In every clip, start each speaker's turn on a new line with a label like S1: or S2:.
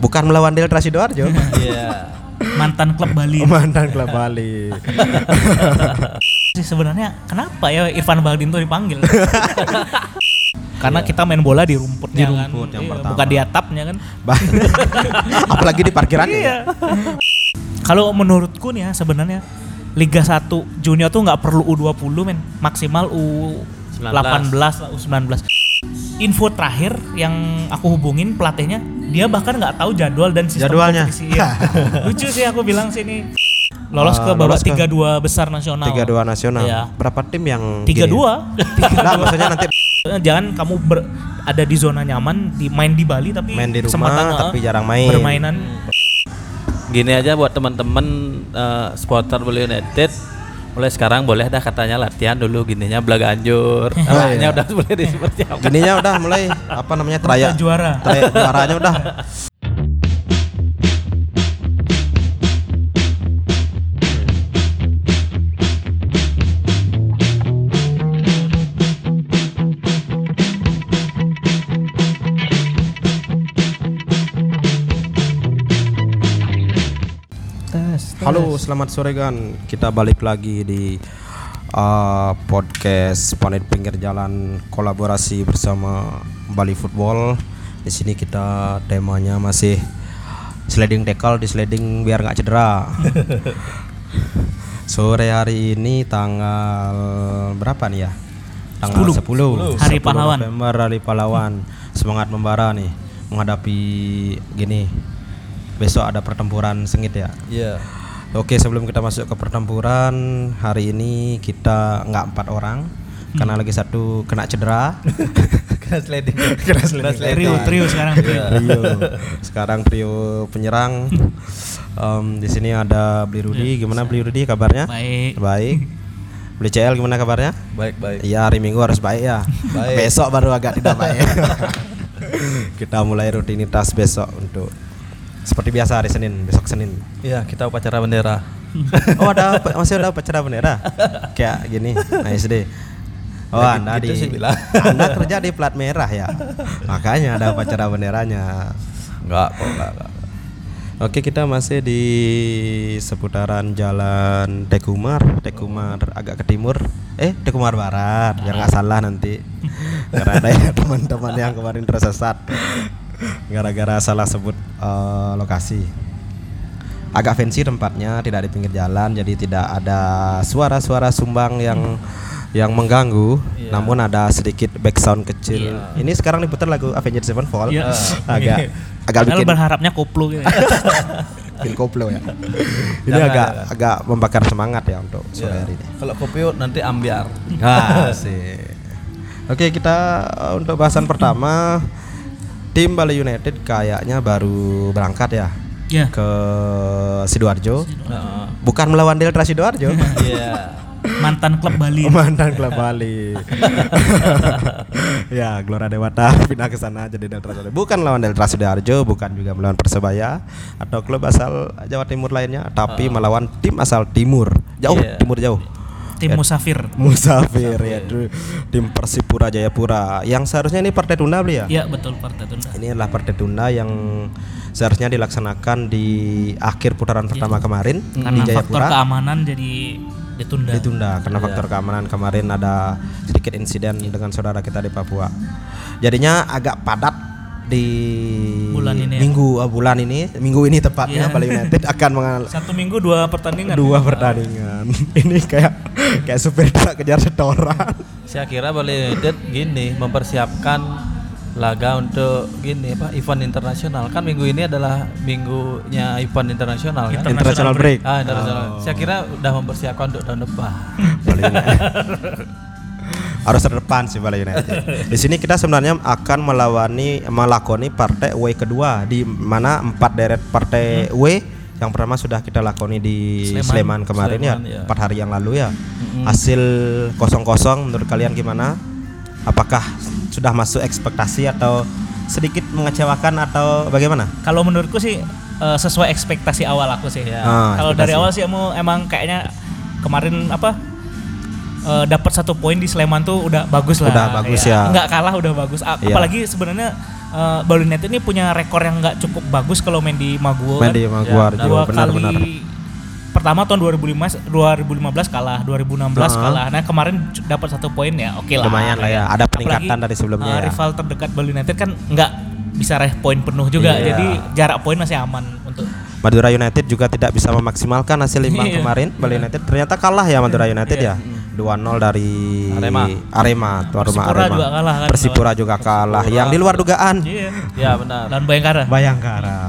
S1: bukan melawan Delta Sidoarjo.
S2: Iya.
S3: mantan klub Bali.
S1: Mantan klub Bali.
S3: Sih sebenarnya kenapa ya Irfan Bahdim tuh dipanggil?
S1: Iya.
S3: Karena kita main bola di
S2: Di
S3: rumputnya kan.
S2: rumput yang
S3: Iya,
S2: pertama.
S3: Bukan di atapnya kan. Iya.
S1: Ba- Apalagi di parkirannya. ya.
S3: Kalau menurutku nih ya sebenarnya Liga 1 junior tuh nggak perlu U20 men, maksimal U18 lah, U19. Info terakhir yang aku hubungin pelatihnya, dia bahkan nggak tahu jadwal dan sistem
S1: Jadwalnya.
S3: kompetisi. Iya. Lucu sih aku bilang sini. Lolos
S1: Eh,
S3: ke babak
S1: lolos ke-
S3: 32 besar nasional.
S1: 32 nasional.
S3: Iya.
S1: Berapa tim yang
S3: 32.
S1: gini? Nah, maksudnya nanti
S3: Jangan kamu ber- ada di zona nyaman, di main di Bali tapi
S1: main di rumah
S3: kesempatan, eh,
S1: tapi jarang main.
S3: Permainan
S2: Gini aja buat teman-teman eh, supporter Bali United mulai sekarang boleh dah katanya latihan dulu gininya belaga anjur. Namanya udah boleh di seperti apa.
S1: Gininya udah mulai apa namanya
S3: ya.
S1: traya.
S3: juara.
S1: Traya juaranya udah. Halo, selamat sore Gan. Kita balik lagi di uh, podcast Planet Pinggir Jalan kolaborasi bersama Bali Football. Di sini kita temanya masih sliding tackle di sliding biar nggak cedera. sore hari ini tanggal berapa nih ya? Tanggal 10. 10.
S3: Hari Pahlawan.
S1: November Hari Pahlawan. Semangat membara nih menghadapi gini. Besok ada pertempuran sengit ya.
S2: Iya.
S1: Oke sebelum kita masuk ke pertempuran hari ini kita nggak empat orang karena lagi satu kena cedera.
S2: Keras sliding. Keras Iya.
S3: Trio, trio sekarang.
S1: Trio. Sekarang trio penyerang. Em, di sini ada Bli Rudi. Gimana Bli Rudi kabarnya?
S3: Baik.
S1: Baik. Bli CL gimana kabarnya?
S2: Baik-baik.
S1: Iya hari Minggu harus baik ya.
S2: Baik.
S1: Besok baru agak tidak baik. kita mulai rutinitas besok untuk seperti biasa hari Senin, besok Senin.
S2: Iya, kita upacara bendera.
S1: Oh ada apa- masih ada upacara bendera kayak gini ASD. Oh
S2: Ya,
S1: anda
S2: gitu
S1: di
S2: sih bilang.
S1: anda kerja di plat merah ya makanya ada upacara benderanya.
S2: Enggak kok, enggak, enggak.
S1: Oke kita masih di seputaran Jalan Tekumar, Tekumar agak ke timur, eh Tekumar Barat, yang nggak salah nanti karena ada ya teman-teman yang kemarin tersesat gara-gara salah sebut eh, lokasi. Agak fancy tempatnya, tidak di pinggir jalan, jadi tidak ada suara-suara sumbang yang yang mengganggu, namun ada sedikit background kecil. Ini sekarang diputar lagu Avenged Sevenfold,
S3: Iya.
S1: agak agak
S3: Padahal
S1: bikin
S3: berharapnya koplo gitu.
S1: Bikin koplo ya. ini agak agak membakar semangat ya untuk sore hari ini.
S2: Iya. Kalau kopi nanti ambiar.
S1: Asik. Oke, kita uh, untuk bahasan pertama tim Bali United kayaknya baru berangkat ya
S3: ya.
S1: ke Sidoarjo.
S2: Heeh.
S1: Bukan melawan Delta Sidoarjo.
S2: Iya.
S3: Mantan klub Bali.
S1: Mantan klub Bali. ya, Gelora Dewata pindah ke sana jadi Delta Sidoarjo. Bukan lawan Delta Sidoarjo, bukan juga melawan Persebaya atau klub asal Jawa Timur lainnya, tapi
S3: Ah.
S1: melawan tim asal Timur. Jauh,
S2: Iya.
S1: Timur jauh. Ya.
S3: Tim Musafir.
S1: Musafir ya, dulu. tim Persipura Jayapura. Yang seharusnya ini partai tunda beli ya?
S3: Iya betul partai tunda.
S1: Ini adalah partai tunda yang seharusnya dilaksanakan di akhir putaran pertama kemarin di
S3: Iya. Karena faktor
S1: Jayapura.
S3: keamanan jadi ditunda.
S1: ditunda karena
S3: Iya.
S1: faktor keamanan kemarin ada sedikit insiden dengan saudara kita di Papua. Jadinya agak padat di
S3: Bulan ini ya.
S1: minggu eh, bulan ini minggu ini tepatnya
S3: Iya.
S1: Bali United akan mengal
S3: Satu minggu dua pertandingan.
S1: dua pertandingan. ini kayak kayak supir truk kejar setoran.
S2: Saya kira Bali United gini mempersiapkan laga untuk gini apa event internasional kan minggu ini adalah minggunya event internasional kan
S1: International break.
S2: ah internasional saya kira udah mempersiapkan untuk tahun depan
S1: Bali United. Harus terdepan sih Bali United. Di sini kita sebenarnya akan melawani melakoni partai W kedua di mana empat deret partai W yang pertama sudah kita lakoni di Hmm. Sleman,
S2: Sleman.
S1: kemarin
S2: Sleman,
S1: ya,
S2: ya.
S1: empat hari yang lalu ya. Hasil kosong-kosong menurut kalian gimana? Apakah sudah masuk ekspektasi atau sedikit mengecewakan atau bagaimana?
S3: Kalau menurutku sih eh, sesuai ekspektasi awal aku sih.
S2: Ya.
S1: Ah,
S3: Kalau dari
S1: ekspektasi.
S3: awal sih emu- emang kayaknya kemarin apa eh, dapat satu poin di Sleman tuh udah bagus lah.
S1: Udah bagus ya.
S3: Nggak kalah udah bagus. A-
S1: Iya.
S3: Apalagi sebenarnya eh, Bali United ini punya rekor yang nggak cukup bagus kalau main di Maguwo
S1: Main
S3: kan.
S1: di iya, Maguwar
S4: Ya,
S1: juga
S3: dua kali
S1: benar-benar.
S3: pertama tahun 2015 2015 kalah 2016
S1: Ah.
S3: kalah nah kemarin c- dapat satu poin ya oke lah
S1: Lumayan lah ya, ada peningkatan dari sebelumnya
S3: eh,
S1: ya.
S3: rival terdekat Bali United kan nggak bisa raih poin penuh juga
S1: Iya.
S3: jadi jarak poin masih aman untuk
S1: Madura United juga tidak bisa memaksimalkan hasil imbang
S3: Iya.
S1: kemarin. Bali United ternyata kalah ya Madura United ya. 2-0 dari
S4: Arema.
S1: Arema, tuan rumah
S3: Persipura
S1: Arema.
S3: juga kalah kan,
S1: Persipura juga kalah. Yang di luar dugaan.
S3: iya
S4: Ya benar.
S3: lawan Bayangkara
S1: Bayangkara.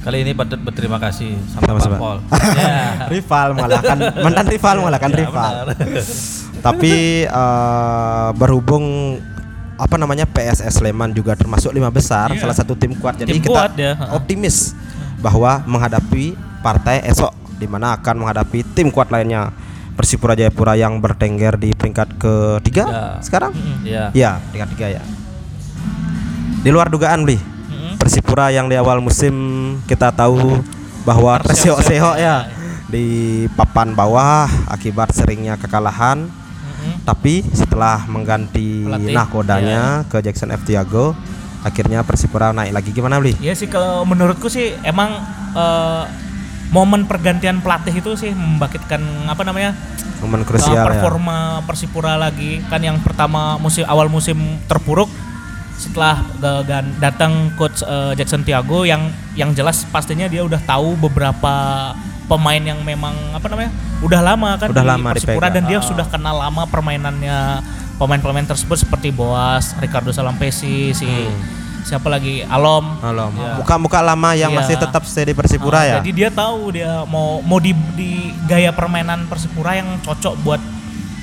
S4: Kali ini patut berterima kasih sama Pak
S1: Sama-sama.
S4: Paul. Ya.
S1: rival malah kan mantan rival malah kan rival. Tapi eh, berhubung apa namanya PSS Sleman juga termasuk lima besar, salah satu tim kuat. Jadi
S3: Tim
S1: kita
S3: kuat ya, ha.
S1: optimis bahwa menghadapi partai esok di mana akan menghadapi tim kuat lainnya Persipura Jayapura yang bertengger di peringkat ketiga
S4: Ya.
S1: sekarang.
S4: Ya.
S1: Ya, peringkat tiga ya. Di luar dugaan, Bli. Persipura yang di awal musim kita tahu bahwa terseok-seok ya di papan bawah akibat seringnya kekalahan. Tapi setelah mengganti
S3: Pelatih, ya.
S1: nahkodanya ke Jackson F Tiago, akhirnya Persipura naik lagi. Gimana, Bli?
S3: ya sih kalau menurutku sih emang eh, momen pergantian pelatih itu sih membangkitkan apa namanya
S1: Momen
S3: Uh,
S1: krusial ya.
S3: performa Persipura lagi kan yang pertama musim awal musim terpuruk setelah ga- gan- datang coach eh, Jackson Tiago yang yang jelas pastinya dia udah tahu beberapa pemain yang memang apa namanya udah lama kan
S1: Udah lama
S3: Persipura
S1: dipegang. Ah.
S3: dan dia sudah kenal lama permainannya pemain-pemain tersebut seperti Boas, Ricardo Salampesi, si
S1: Hmm.
S3: siapa lagi Alom
S1: Halo, muka-muka lama yang
S3: Iya.
S1: masih tetap stay di Persipura
S3: Ah,
S1: ya.
S3: Jadi dia tahu dia mau mau di, di gaya permainan Persipura yang cocok buat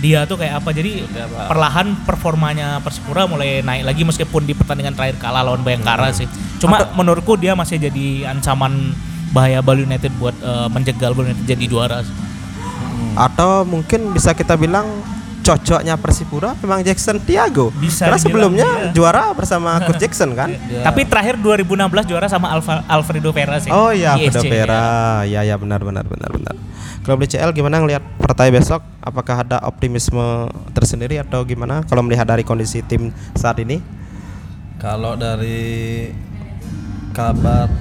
S3: dia tuh kayak apa. Jadi perlahan performanya Persipura mulai naik lagi meskipun di pertandingan terakhir kalah lawan Bayangkara
S1: Hmm.
S3: sih. Cuma menurutku dia masih jadi ancaman bahaya Bali United buat eh, menjegal Bali United jadi juara. sih.
S1: Atau mungkin bisa kita bilang cocoknya Persipura memang Jackson Tiago.
S3: Bisa
S1: Karena
S3: dibilang,
S1: sebelumnya
S3: iya.
S1: juara bersama Coach Jackson kan.
S3: Tapi terakhir 2016 juara sama Alfa- Alfredo Vera sih.
S1: Oh iya,
S3: ISC,
S1: Alfredo
S3: ya.
S1: Vera. Ya ya benar benar benar benar. Klub DCL gimana ngelihat partai besok? Apakah ada optimisme tersendiri atau gimana kalau melihat dari kondisi tim saat ini?
S2: Kalau dari kabar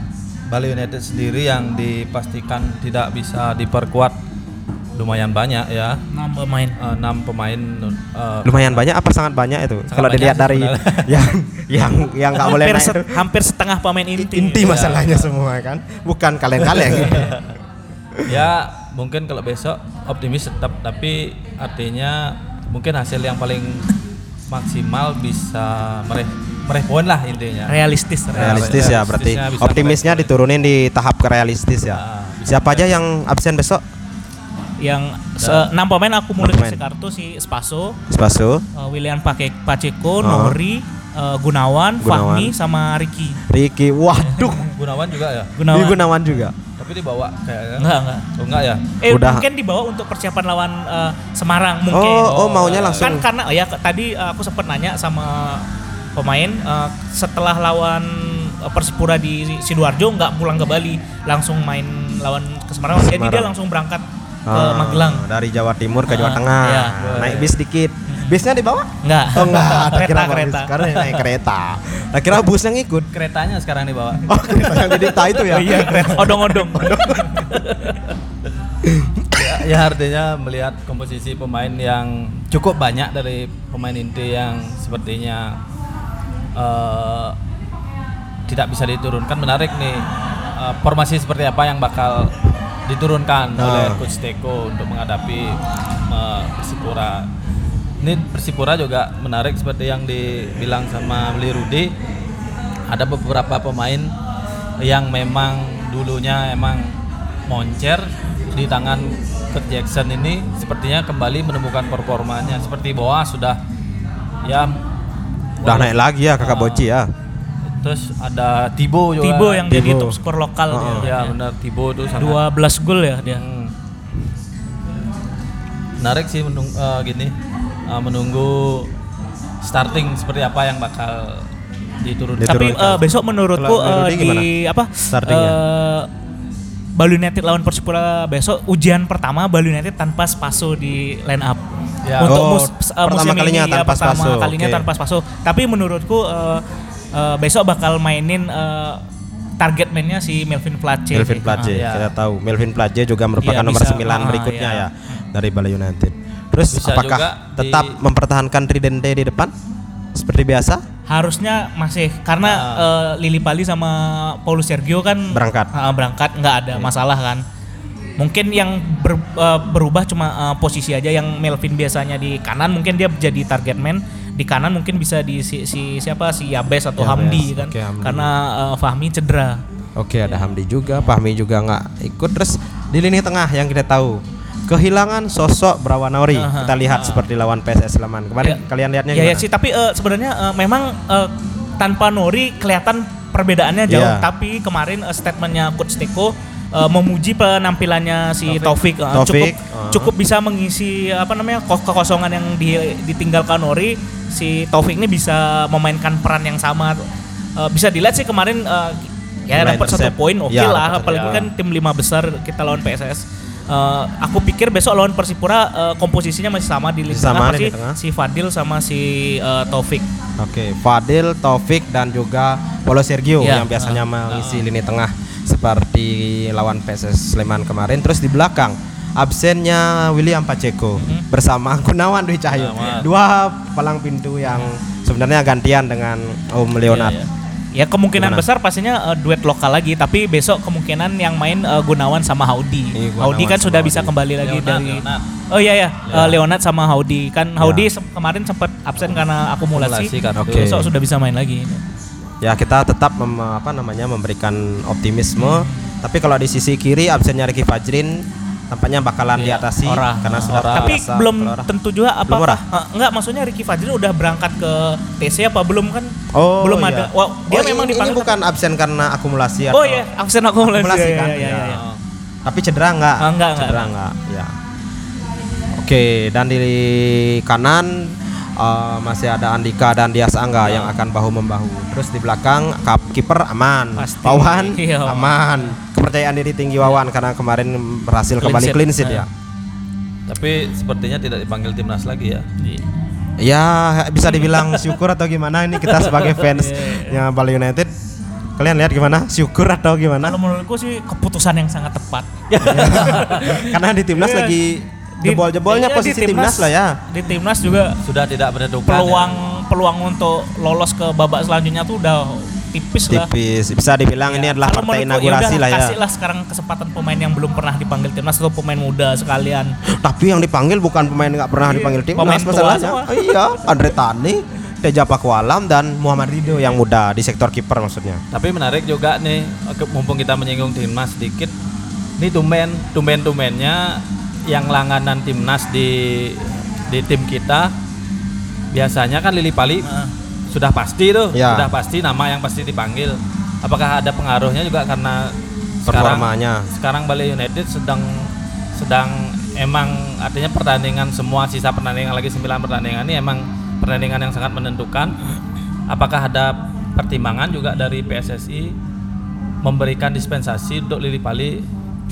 S2: Bali United sendiri yang dipastikan tidak bisa diperkuat lumayan banyak ya.
S3: Enam pemain.
S2: Eh, Enam pemain eh,
S1: Lumayan banyak apa sangat banyak itu? Kalau
S2: banyak
S1: dilihat
S2: sih
S1: dari
S2: sebenarnya.
S1: yang yang yang nggak boleh
S3: hampir, Iya.
S1: naik
S3: set- hampir setengah pemain inti.
S1: inti masalahnya semua kan. Bukan kaleng-kaleng.
S2: ya mungkin kalau besok optimis tetap tapi artinya mungkin hasil yang paling maksimal bisa meraih meraih poin lah intinya.
S3: Iya. Realistis.
S1: realistis ya berarti.
S2: Realistisnya bisa
S1: Optimisnya diturunin di tahap ke realistis
S2: Ah,
S1: ya. Siapa aja yang absen besok?
S3: yang se- enam pemain aku mulai
S1: Nah. Enam pemain.
S3: kasih kartu si Spaso,
S1: Spaso,
S3: uh, William Pake Pacheco,
S1: Ah.
S3: Nori, uh,
S1: Gunawan.
S3: Gunawan, Fahmi sama Ricky.
S1: Ricky. Waduh,
S2: Gunawan juga ya,
S1: Di
S3: Gunawan.
S1: Gunawan juga.
S2: tapi dibawa kayaknya.
S3: Enggak, enggak.
S2: Oh enggak ya?
S3: Eh
S1: Udah.
S3: mungkin dibawa untuk persiapan lawan uh, Semarang mungkin.
S1: Oh, oh maunya langsung.
S3: Kan karena ya ke- tadi uh, aku sempat nanya sama pemain uh, setelah lawan uh, Persipura di Sidoarjo nggak pulang ke Bali, langsung main lawan ke Semarang. Jadi
S1: Semarang.
S3: dia langsung berangkat ke
S1: Ah,
S3: Magelang.
S1: Dari Jawa Timur ke Jawa
S3: Ah,
S1: Tengah.
S3: iya.
S1: Naik bis dikit. Bisnya dibawa?
S3: Enggak.
S1: Oh enggak, tak
S3: kereta
S1: kira bawa bis.
S3: kereta.
S1: Karena naik kereta. Tak kira bus yang ikut.
S2: Keretanya sekarang dibawa.
S1: Oh, kereta yang di Dita itu ya.
S3: Oh iya, kereta. Odong-odong.
S2: ya, ya artinya melihat komposisi pemain yang cukup banyak dari pemain inti yang sepertinya eh, tidak bisa diturunkan menarik nih Eh, formasi seperti apa yang bakal diturunkan
S1: Ah.
S2: oleh coach Teko untuk menghadapi eh, Persipura. Ini Persipura juga menarik seperti yang dibilang sama Beli Rudi. Ada beberapa pemain yang memang dulunya emang moncer di tangan Kurt Jackson ini sepertinya kembali menemukan performanya seperti Boas sudah ya
S1: Udah naik lagi ya
S3: Ah.
S1: kakak Boci ya.
S2: terus ada Tibo juga
S3: Tibo yang jadi
S1: Tibo.
S3: top skor lokal
S1: Oh,
S3: dia.
S2: ya benar Tibo itu sangat
S3: 12 gol ya dia.
S2: Hmm. menarik sih menung, eh, gini eh, menunggu starting seperti apa yang bakal diturunkan
S3: Tapi
S1: Diturunkan.
S3: eh, besok menurutku
S1: Kalau Melody
S3: eh, di apa?
S1: Startingnya.
S3: eh, Bali United lawan Persipura besok ujian pertama Bali United tanpa Spaso di line up.
S2: Ya.
S3: Untuk
S1: Oh,
S3: mus- eh,
S1: pertama
S3: musim
S1: kalinya
S3: ini, ya,
S1: tanpa
S3: pertama
S1: Spaso,
S3: kalinya
S1: oke.
S3: tanpa Spaso. Tapi menurutku eh, eh, besok bakal mainin eh, target mainnya si Melvin Place.
S1: Melvin Plaje,
S3: Ah, iya.
S1: kita tahu. Melvin Plaje juga merupakan
S3: Iya,
S1: nomor
S3: bisa.
S1: 9
S3: Ah,
S1: berikutnya
S3: iya.
S1: ya dari Bali United. Terus
S5: Bisa
S1: apakah
S5: juga di-
S1: tetap mempertahankan Tridente di depan seperti biasa?
S3: Harusnya masih karena eh, Lili Pali sama Paulo Sergio kan
S1: Ah. Berangkat. Iya.
S3: Ah, berangkat nggak ada masalah kan. Mungkin yang ber- eh, berubah cuma eh, posisi aja yang Melvin biasanya di kanan mungkin dia jadi target man di kanan mungkin bisa di si, si- siapa si Yabes atau
S1: Yabes,
S3: Hamdi kan
S1: oke, Hamdi.
S3: karena eh, Fahmi cedera.
S1: Oke, ada Hamdi juga, Fahmi juga nggak ikut. Terus di lini tengah yang kita tahu kehilangan sosok Brawanauri. Kita lihat seperti lawan PSS Sleman kemarin.
S3: Ah. Ya.
S1: Kalian lihatnya
S3: Ya, ya
S1: gimana?
S3: sih, tapi eh, sebenarnya eh, memang eh, tanpa Nori kelihatan perbedaannya jauh.
S1: Iya.
S3: Tapi kemarin eh, statementnya Coach Teko eh, memuji penampilannya si Taufik, eh, cukup
S1: Taufik, ah.
S3: cukup bisa mengisi apa namanya ko- kekosongan yang di- ditinggalkan Nori. Si Taufik ini bisa memainkan peran yang sama. Eh, bisa dilihat sih kemarin eh, ya
S1: Mulai
S3: dapat satu
S1: intercept.
S3: poin oke
S1: Ya,
S3: lah,
S1: dapat satu
S3: apalagi
S1: poin.
S3: kan tim lima besar kita lawan PSS. Eh, aku pikir besok lawan Persipura eh, komposisinya masih sama di lini
S1: Sama
S3: tengah,
S1: lini
S3: masih
S1: tengah.
S3: si Fadil sama si eh, Taufik.
S1: Oke, Fadil, Taufik dan juga Paulo Sergio
S3: Iya.
S1: yang biasanya mengisi lini tengah seperti lawan PSS Sleman kemarin. Terus di belakang absennya William Pacheco
S3: Hmm.
S1: bersama Gunawan Dwi Cahyo. Dua palang pintu yang sebenarnya gantian dengan Om Leonard.
S3: Ya kemungkinan
S1: Gimana?
S3: besar pastinya eh, duet lokal lagi, tapi besok kemungkinan yang main eh, Gunawan sama Haudi.
S1: Iya, Gunawan
S3: Haudi kan
S1: sama
S3: sudah bisa
S1: Haudi.
S3: kembali lagi
S5: Leonard,
S3: dari
S5: Leonard.
S3: Oh iya ya, eh, Leonard sama Haudi kan Haudi se- kemarin sempat absen karena akumulasi.
S5: Akumulasi kartu.
S1: Iya. kan. Oke.
S3: Besok sudah bisa main lagi.
S1: Ya, kita tetap mem- apa namanya memberikan optimisme. Tapi kalau di sisi kiri absennya Ricky Fajrin tampaknya bakalan
S3: Iya,
S1: diatasi
S3: Ora.
S1: karena sudah
S3: Ah, tapi
S1: terbiasa
S3: belum
S1: kalau ora.
S3: tentu juga apa Ah,
S1: ora?
S3: enggak maksudnya Ricky Fajri udah berangkat ke TC apa belum kan?
S1: Oh,
S3: belum
S1: iya.
S3: ada. Wah,
S1: Oh,
S3: dia memang
S1: ini, ini
S3: dipanggil
S1: bukan absen karena akumulasi atau
S3: Oh iya, absen akumulasi.
S1: Akumulasi
S3: Iya,
S1: kan?
S3: iya, iya,
S1: Ya.
S3: iya.
S1: Tapi cedera nggak?
S3: Ah, nggak, nggak,
S1: Cedera nggak? Ya. Oke, dan di kanan eh, masih ada Andika dan Dias Angga
S3: Iya.
S1: yang akan bahu membahu. Terus di belakang kap- kiper aman,
S3: Pasti.
S1: Wawan
S3: Iya, Wawan. Iya.
S1: aman. Kepercayaan diri tinggi Wawan karena kemarin berhasil
S2: Clean
S1: kembali
S2: sheet.
S1: clean sheet ya.
S5: Tapi sepertinya tidak dipanggil timnas lagi ya.
S1: Ya bisa dibilang syukur atau gimana ini kita sebagai
S3: Iya,
S1: fans yang Bali United. Kalian lihat gimana? Syukur atau gimana?
S3: Kalau Nah, menurutku sih keputusan yang sangat tepat.
S1: Ya, Karena di timnas
S3: Iya.
S1: lagi jebol-jebolnya
S3: iya, di
S1: posisi timnas, lah ya.
S3: Di timnas juga
S5: Sudah tidak berduka.
S3: peluang peluang untuk lolos ke babak selanjutnya tuh udah tipis lah. Ya,
S1: Tipis. Bisa dibilang ini adalah
S3: Iya, Kalau
S1: partai
S3: menurutku, iya,
S1: inaugurasi
S3: yaudah,
S1: lah ya.
S3: Kasihlah sekarang kesempatan pemain yang belum pernah dipanggil timnas atau pemain muda sekalian.
S1: Tapi yang dipanggil bukan pemain nggak pernah dipanggil timnas
S3: Iya, pemain tua
S1: masalahnya.
S3: semua.
S1: iya, Andre Tani, Teja Pakualam dan Muhammad Rido yang muda di sektor kiper maksudnya.
S5: Tapi menarik juga nih, ke- mumpung kita menyinggung timnas sedikit. Ini tumben, tumben tumbennya yang langanan timnas di di tim kita biasanya kan Lili Pali sudah pasti tuh,
S1: Ya.
S5: sudah pasti nama yang pasti dipanggil. Apakah ada pengaruhnya juga karena sekarang-
S1: Performanya.
S5: sekarang Bali United sedang sedang emang artinya pertandingan semua sisa pertandingan lagi 9 pertandingan ini emang pertandingan yang sangat menentukan. Apakah ada pertimbangan juga dari PSSI memberikan dispensasi untuk Lili Pali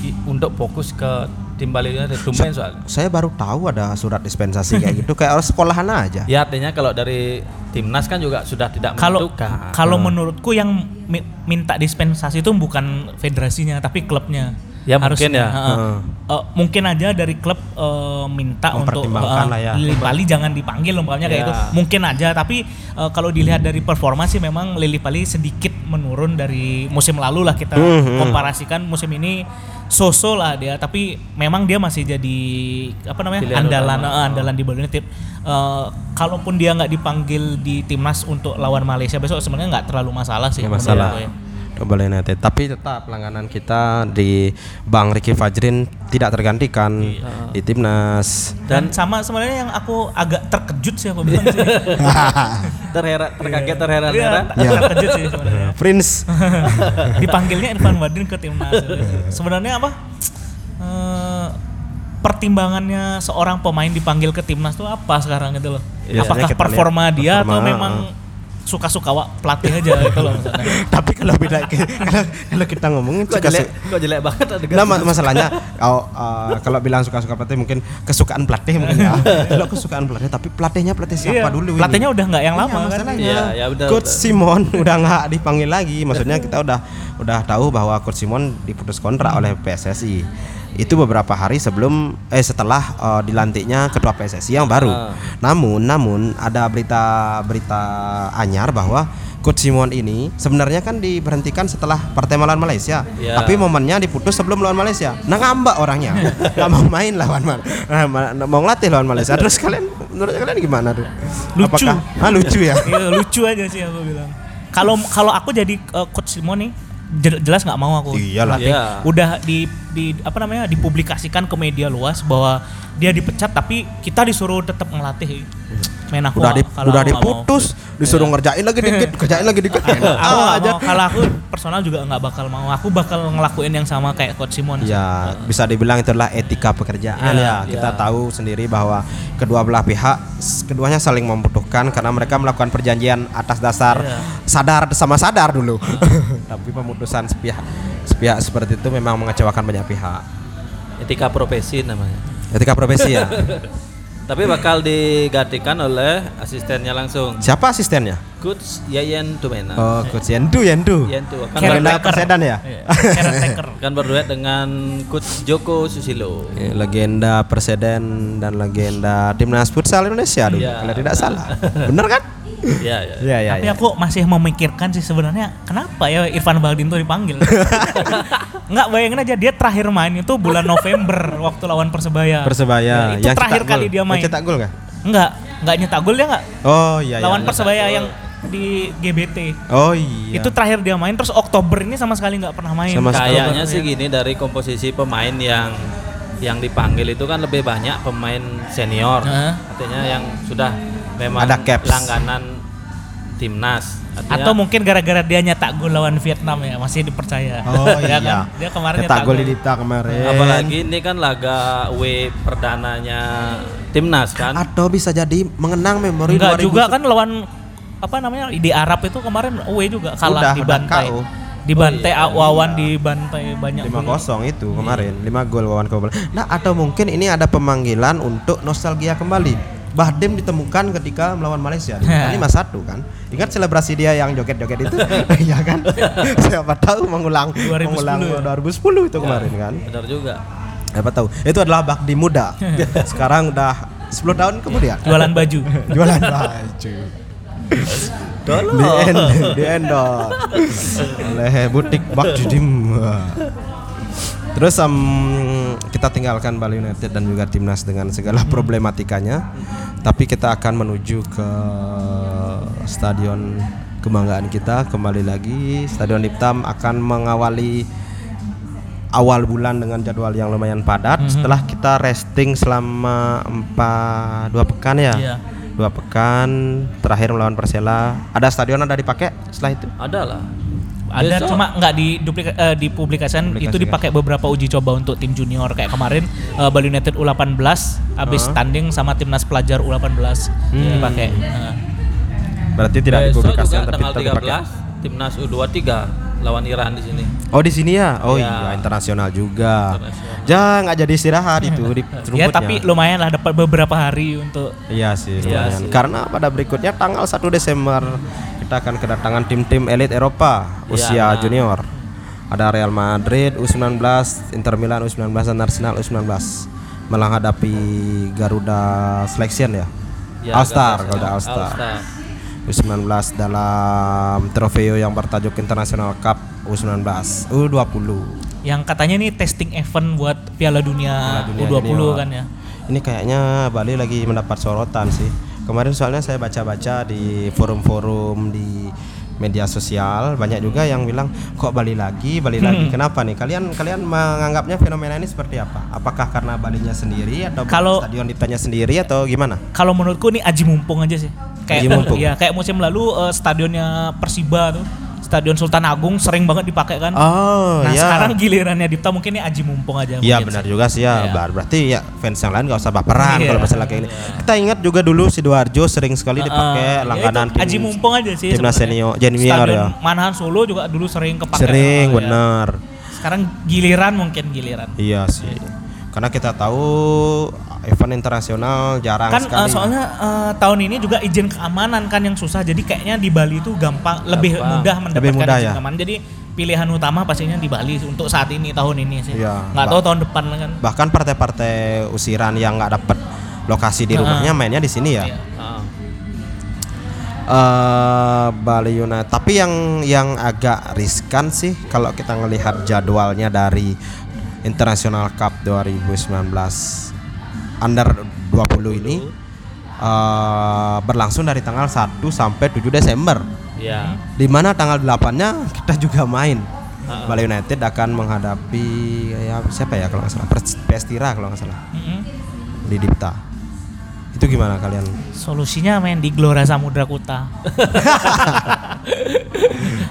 S5: i- untuk fokus ke tim Bali United tumben soalnya.
S1: Saya baru tahu ada surat dispensasi kayak gitu kayak orang sekolahan aja.
S3: Iya,
S5: Ya artinya kalau dari timnas kan juga sudah tidak
S3: Kalau
S5: menentukan.
S3: kalau
S1: Hmm.
S3: menurutku yang mi- minta dispensasi itu bukan federasinya tapi klubnya.
S2: Ya, mungkin ya.
S3: Heeh.
S1: Hmm.
S3: Eh, mungkin aja dari klub eh, minta untuk
S1: Mempertimbangkan
S3: eh,
S1: lah ya.
S3: Lili Pali jangan dipanggil umpamanya kayak
S5: Ya.
S3: itu. Mungkin aja tapi eh, kalau dilihat dari performa sih memang Lili Pali sedikit menurun dari musim lalu lah kita
S1: Hmm, hmm.
S3: komparasikan musim ini Soso lah dia tapi memang dia masih jadi apa namanya
S5: Pilihan
S3: andalan
S5: utama.
S3: eh, andalan di Bali United. Eh, kalaupun dia nggak dipanggil di timnas untuk lawan Malaysia besok sebenarnya nggak terlalu masalah sih.
S1: Nggak
S3: menurut
S1: Iya, masalah.
S3: gue ya.
S1: Double United. Tapi tetap langganan kita di Bang Ricky Fajrin tidak tergantikan
S3: Iya.
S1: di timnas.
S3: Dan, sama sebenarnya yang aku agak terkejut sih apa bilang sih.
S2: Terheran, terkaget,
S3: Iya,
S2: terheran-heran.
S1: Iya.
S3: terkejut sih sebenarnya.
S1: Prince
S3: Dipanggilnya Irfan Wadin ke timnas. sebenarnya apa? Eh, pertimbangannya seorang pemain dipanggil ke timnas tuh apa sekarang gitu loh?
S1: Biasanya
S3: Apakah
S1: kita lihat
S3: performa dia atau
S1: performa,
S3: memang suka-suka wak pelatih aja gitu kalau misalnya.
S1: Tapi kalau beda ke- kalau, kalau kita ngomongin
S5: Kok
S1: suka
S5: jelek, kok jelek banget adegan.
S1: Nah, ma- masalahnya kalau eh, kalau bilang suka-suka pelatih mungkin kesukaan pelatih mungkin ya. Kalau kesukaan pelatih tapi pelatihnya pelatih siapa
S3: Iya,
S1: dulu ini?
S3: Pelatihnya udah nggak yang
S1: Iya,
S3: lama kan.
S1: masalahnya.
S5: Iya, ya benar,
S1: Coach
S5: benar.
S1: Simon udah nggak dipanggil lagi. Maksudnya kita udah udah tahu bahwa Coach Simon diputus kontrak oleh PSSI. Itu beberapa hari sebelum eh setelah eh, dilantiknya ketua PSSI yang baru.
S5: Ah.
S1: Namun namun ada berita berita anyar bahwa Coach Simon ini sebenarnya kan diberhentikan setelah partai melawan Malaysia.
S5: Iya.
S1: Tapi momennya diputus sebelum lawan Malaysia. Nah ngambak orangnya, nggak mau main lawan Mal- nah, ma- mau ngelatih lawan Malaysia. Terus kalian, menurut kalian gimana tuh?
S3: Lucu.
S1: Apakah, ah, lucu ya.
S3: Iya, lucu aja sih aku bilang. Kalau kalau aku jadi eh, coach Simo nih jel- jelas nggak mau aku.
S1: Iyalah.
S3: Pelatih.
S5: Iya.
S3: Udah di di apa namanya dipublikasikan ke media luas bahwa dia dipecat tapi kita disuruh tetap ngelatih. Main aku
S1: udah di,
S3: nggak- kalau
S1: udah
S3: aku nggak mau. Iya.
S1: diputus, disuruh ngerjain lagi dikit, kerjain lagi dikit. Enak
S3: Aku nggak
S1: aja.
S3: mau. Kalau aku personal juga nggak bakal mau. Aku bakal ngelakuin yang sama kayak coach Simon.
S1: Ya, bisa dibilang itu adalah etika pekerjaan
S3: Iya,
S1: ya. Kita tahu sendiri bahwa kedua belah pihak s- keduanya saling membutuhkan karena mereka melakukan perjanjian atas dasar
S3: Iya.
S1: sadar sama sadar dulu. Tapi pemutusan sepihak sepihak seperti itu memang mengecewakan banyak pihak.
S2: Etika profesi namanya.
S1: Etika profesi ya.
S2: Tapi bakal digantikan oleh asistennya langsung.
S1: Siapa asistennya?
S2: Coach Yayan Tumena.
S1: Oh, Coach Yendu, Yendu. Kan
S2: Yayan tuh
S3: Karen
S2: akan,
S1: Karena
S3: Tucker.
S1: Persedan ya?
S3: Iya, caretaker.
S2: akan berduet dengan Coach Joko Susilo.
S1: Ya, legenda Perseden dan legenda timnas futsal Indonesia dulu
S2: Iya.
S1: kalau tidak salah. Bener kan?
S2: Iya, iya.
S1: Iya iya.
S3: Tapi aku masih memikirkan sih sebenarnya kenapa ya Irfan Bahdim tuh dipanggil. Nggak bayangin aja dia terakhir main itu bulan November waktu lawan Persebaya.
S1: Persebaya
S3: Nah, itu terakhir
S1: cetak
S3: kali
S1: gol.
S3: dia main.
S1: Yang cetak gol nggak?
S3: Nggak, nggak nyetak gol dia nggak.
S1: Oh iya. iya,
S3: lawan
S1: iya.
S3: Persebaya yang di GBT.
S1: Oh iya.
S3: Itu terakhir dia main terus Oktober ini sama sekali nggak pernah main.
S1: Sama- Mas
S2: Kayaknya sih gini dari komposisi pemain yang yang dipanggil itu kan lebih banyak pemain senior.
S3: Heeh.
S2: Artinya yang sudah memang
S1: Ada caps.
S2: langganan timnas. Artinya
S1: iya.
S3: Atau mungkin gara-gara dia nyetak gol lawan Vietnam ya masih dipercaya.
S1: Oh iya.
S3: Dia kan- Dia kemarin
S1: cetak gol di Dipta kemarin.
S2: apalagi ini kan laga W perdananya timnas kan.
S1: atau bisa jadi mengenang memori 2000
S3: Enggak juga kan lawan apa namanya di Arab itu kemarin away juga
S1: Udah,
S3: kalah
S1: udah
S3: di bantai.
S1: KO.
S3: Di bantai Wawan di bantai banyak.
S1: 5-0 itu
S3: Iya.
S1: kemarin, 5 gol lawan Kobel. Nah, atau mungkin ini ada pemanggilan untuk nostalgia kembali. Bahdim ditemukan ketika melawan Malaysia di
S3: Iya.
S1: Italia 5-1 kan. Ingat selebrasi dia yang joget-joget itu? Iya kan? Siapa tahu mengulang
S3: 2010
S1: mengulang
S3: ya?
S1: 2010 itu kemarin kan.
S2: Benar juga.
S1: Siapa tahu. Itu adalah Bahdi muda. Sekarang udah 10 tahun kemudian
S3: Iya. Jualan baju.
S1: jualan baju Tolong. Di end, di endorse oleh butik Bak Judim. Terus em, kita tinggalkan Bali United dan juga timnas dengan
S2: Hmm.
S1: segala problematikanya. Tapi kita akan menuju ke stadion kebanggaan kita kembali lagi. Stadion Liptam akan mengawali awal bulan dengan jadwal yang lumayan padat.
S2: Hmm.
S1: Setelah kita resting selama empat dua pekan ya.
S3: Iya.
S1: Dua pekan terakhir melawan Persela. Ada stadion ada dipakai setelah itu?
S2: Ada lah.
S3: Ada
S2: Besok-
S3: cuma nggak di duplika, eh, dipublikasikan itu dipakai beberapa uji coba untuk tim junior kayak kemarin eh, Bali United U18 habis tanding sama timnas pelajar U18 dipakai. Nah,
S1: Berarti tidak
S2: besok
S1: dipublikasikan
S2: juga
S1: tapi
S2: tanggal
S1: tetap dipakai.
S2: 13 timnas U23 lawan Iran di sini.
S1: Oh di sini ya? Oh
S2: Iya.
S1: iya internasional juga. Jangan nggak jadi istirahat itu di rumputnya.
S3: ya tapi lumayan lah dapat beberapa hari untuk
S1: Iya sih, lumayan. Karena pada berikutnya tanggal 1 Desember kita akan kedatangan tim-tim elit Eropa usia junior. Ada Real Madrid U19, Inter Milan U19 dan Arsenal U19 menghadapi Garuda Selection ya.
S2: Ya,
S1: Alstar,
S2: Garuda
S1: Garuda
S2: Selection.
S1: Alstar.
S2: All-Star.
S1: U19 dalam trofeo yang bertajuk International Cup U19, U20.
S3: yang katanya nih testing event buat Piala Dunia, U20
S1: Junior.
S3: kan ya.
S1: Ini kayaknya Bali lagi mendapat sorotan sih. Kemarin soalnya saya baca-baca di forum-forum di media sosial banyak juga yang bilang kok Bali lagi, Bali
S3: Hmm.
S1: lagi. Kenapa nih? Kalian kalian menganggapnya fenomena ini seperti apa? Apakah karena Balinya sendiri atau
S3: Kalau- Hmm.
S1: stadion ditanya sendiri atau gimana?
S3: kalau menurutku ini aji mumpung aja sih. Kayak
S1: Aji mumpung.
S3: Iya, kayak musim lalu eh, stadionnya Persiba tuh Stadion Sultan Agung sering banget dipakai kan.
S1: Oh,
S3: nah
S1: ya.
S3: sekarang gilirannya Dipta mungkin ini Aji Mumpung aja.
S1: Iya
S3: mungkin.
S1: benar juga sih ya.
S2: Iya.
S1: Bar- Berarti ya fans yang lain gak usah baperan
S3: Iya.
S1: kalau masalah kayak ini. Kita ingat juga dulu Sidoarjo sering sekali dipakai
S3: Ya,
S1: langganan
S3: itu Aji Mumpung aja sih.
S1: timnas senior
S3: sebenarnya.
S1: junior
S3: Stadion
S1: ya.
S3: Manahan Solo juga dulu sering kepakai.
S1: Sering
S3: sama, ya.
S1: benar.
S3: Sekarang giliran mungkin giliran.
S1: Iya sih. Karena kita tahu event internasional jarang
S3: kan
S1: sekali.
S3: eh, soalnya eh, tahun ini juga izin keamanan kan yang susah jadi kayaknya di Bali itu gampang lebih
S2: Gampang.
S3: mudah
S1: Lebih
S3: mendapatkan
S1: mudah
S3: izin
S1: ya.
S3: keamanan jadi pilihan utama pastinya di Bali untuk saat ini tahun ini sih
S1: Iya.
S3: nggak tahu tahun depan kan
S1: bahkan partai-partai usiran yang nggak dapat lokasi di rumahnya mainnya di sini ya.
S3: Iya.
S2: Ah.
S1: eh Bali United. Tapi yang yang agak riskan sih kalau kita melihat jadwalnya dari International Cup 2019 under 20 ini eh, berlangsung dari tanggal 1 sampai 7 Desember.
S2: Iya.
S1: Di mana tanggal 8-nya kita juga main.
S3: Ah.
S1: Bali United akan menghadapi ya siapa ya kalau nggak salah Pers- Pestira kalau nggak salah
S3: Mm-mm.
S1: di Dipta. Itu gimana kalian?
S3: solusinya main di Gelora Samudra Kuta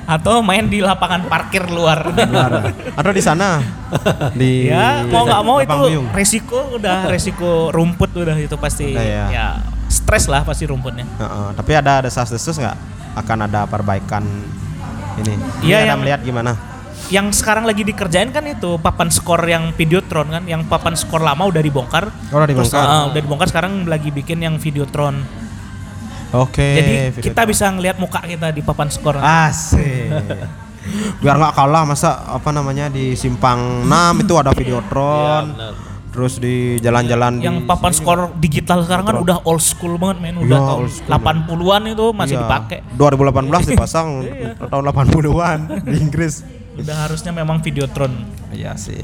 S3: atau main di lapangan parkir luar
S1: Gimana? Atau di sana di
S3: ya mau nggak mau itu
S1: Lapang Biung.
S3: resiko udah resiko rumput udah itu pasti
S1: Udah, ya.
S3: ya stres lah pasti rumputnya
S1: Heeh, tapi ada desas-desus nggak akan ada perbaikan ini?
S3: Iya,
S1: Ini ada
S3: yang-
S1: melihat gimana?
S3: yang sekarang lagi dikerjain kan itu papan skor yang Videotron kan, yang papan skor lama udah dibongkar.
S1: Oh, udah
S3: Terus,
S1: dibongkar.
S3: ah, udah dibongkar sekarang lagi bikin yang Videotron.
S1: Oke.
S3: Jadi
S1: video-
S3: kita bisa ngelihat muka kita di papan skor.
S1: Ah, asik. Biar nggak kalah masa apa namanya di simpang 6 itu ada
S2: Iya,
S3: Iya,
S1: Videotron. Terus di jalan-jalan di
S3: yang papan skor digital sekarang kan udah old school banget men, udah
S1: Iya,
S3: tahun
S1: old school.
S3: 80-an itu masih
S1: Iya.
S3: dipakai. Iya.
S1: 2018 dipasang tahun 80-an di Inggris.
S3: Udah harusnya memang Videotron.
S1: Iya sih.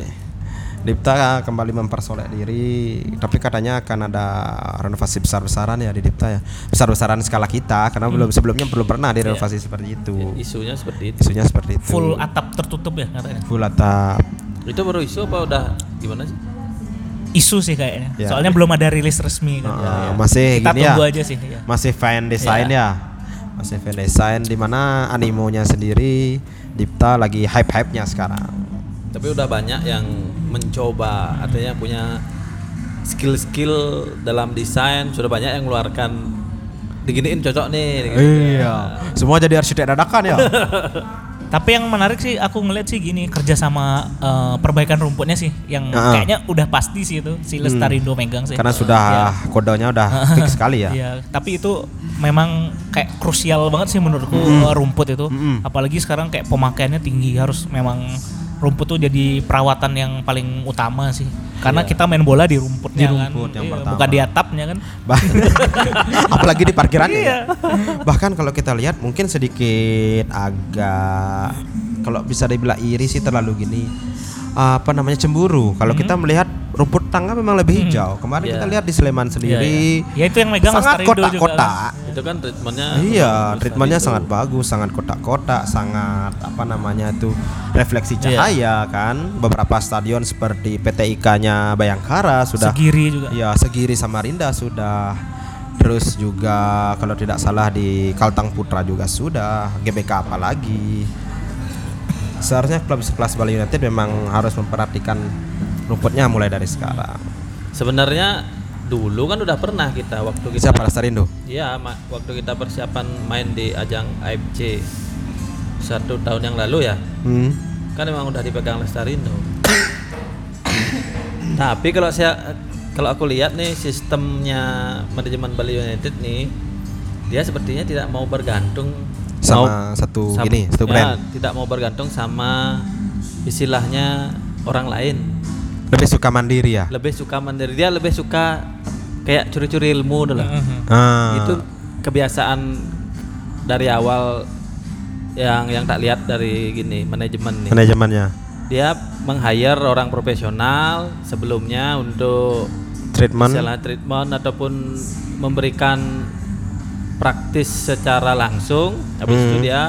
S1: Dipta kembali mempersolek diri, tapi katanya akan ada renovasi besar-besaran ya di Dipta ya. Besar-besaran skala kita karena
S3: Hmm.
S1: belum sebelumnya belum pernah direnovasi seperti itu.
S2: Isunya seperti itu.
S1: Isunya seperti itu.
S3: Iya. Full atap tertutup ya katanya.
S1: full atap.
S2: Itu baru isu apa udah gimana sih?
S3: Isu sih kayaknya.
S1: Iya.
S3: Soalnya belum ada rilis resmi kan.
S1: Nah, Masih
S3: Kita
S1: gini
S3: tunggu
S1: ya.
S3: aja sih ya. Iya.
S1: Masih fan design ya. Masih fan design di mana animonya sendiri Dipta lagi hype-hype-nya sekarang.
S2: Tapi udah banyak yang mencoba artinya punya skill-skill dalam desain sudah banyak yang mengeluarkan diginiin cocok nih. diginiin.
S1: Iya. Semua jadi arsitek dadakan ya.
S3: Tapi yang menarik sih aku ngeliat sih gini kerja sama eh, perbaikan rumputnya sih yang
S1: Heeh.
S3: kayaknya udah pasti sih itu si Lestarindo megang sih.
S1: Ah. Hmm. Karena sudah kodenya udah fix sekali ya.
S3: Iya, tapi itu memang kayak krusial banget sih menurutku
S1: Hmm.
S3: eh, rumput itu. Apalagi sekarang kayak pemakaiannya tinggi harus memang rumput tuh jadi perawatan yang paling utama sih. Karena kita main bola di
S1: Iya.
S3: rumputnya
S1: Di
S3: kan.
S1: rumput yang
S3: Iya,
S1: pertama.
S3: Bukan di atapnya kan.
S1: Bah- apalagi di parkirannya
S3: Iya.
S1: ya. bahkan kalau kita lihat mungkin sedikit agak kalau bisa dibilang iri sih terlalu gini apa namanya cemburu kalau kita
S3: Hmm.
S1: melihat rumput tangga memang lebih hijau kemarin
S2: Iya.
S1: kita lihat di Sleman sendiri
S3: Ya itu yang megang
S1: sangat
S3: Lestarindo juga.
S1: kotak-kotak
S2: Itu kan treatmentnya.
S1: Eh. Iya,
S2: bagus
S1: treatmentnya
S2: tadi itu.
S1: sangat bagus, sangat kotak-kotak, sangat apa namanya tuh refleksi
S2: Iya.
S1: cahaya kan. Beberapa stadion seperti PTIK-nya Bayangkara sudah
S3: Segiri juga.
S1: Ya, Segiri Samarinda sudah. Terus juga kalau tidak salah di Kaltang Putra juga sudah. GBK apa lagi? Seharusnya klub sekelas Bali United memang harus memperhatikan rumputnya mulai dari sekarang.
S2: Sebenarnya dulu kan udah pernah kita waktu kita
S1: Siapa Lestarindo?
S2: Iya, Ma- waktu kita persiapan main di ajang AFC satu tahun yang lalu ya,
S1: Hmm.
S2: kan memang udah dipegang Lestarindo. Tapi kalau saya kalau aku lihat nih sistemnya manajemen Bali United nih, dia sepertinya tidak mau bergantung
S1: Sama satu
S2: sama-
S1: ini, satu
S2: ya,
S1: brand.
S2: tidak mau bergantung sama istilahnya orang lain.
S1: Lebih suka mandiri ya.
S2: Lebih suka mandiri, dia lebih suka kayak curi-curi ilmu dulu
S1: Ah.
S2: itu kebiasaan dari awal yang yang tak lihat dari gini manajemen nih
S1: manajemennya.
S2: dia meng-hire orang profesional sebelumnya untuk
S1: Treatment
S2: misalnya treatment ataupun memberikan praktis secara langsung habis itu
S1: Hmm.
S2: dia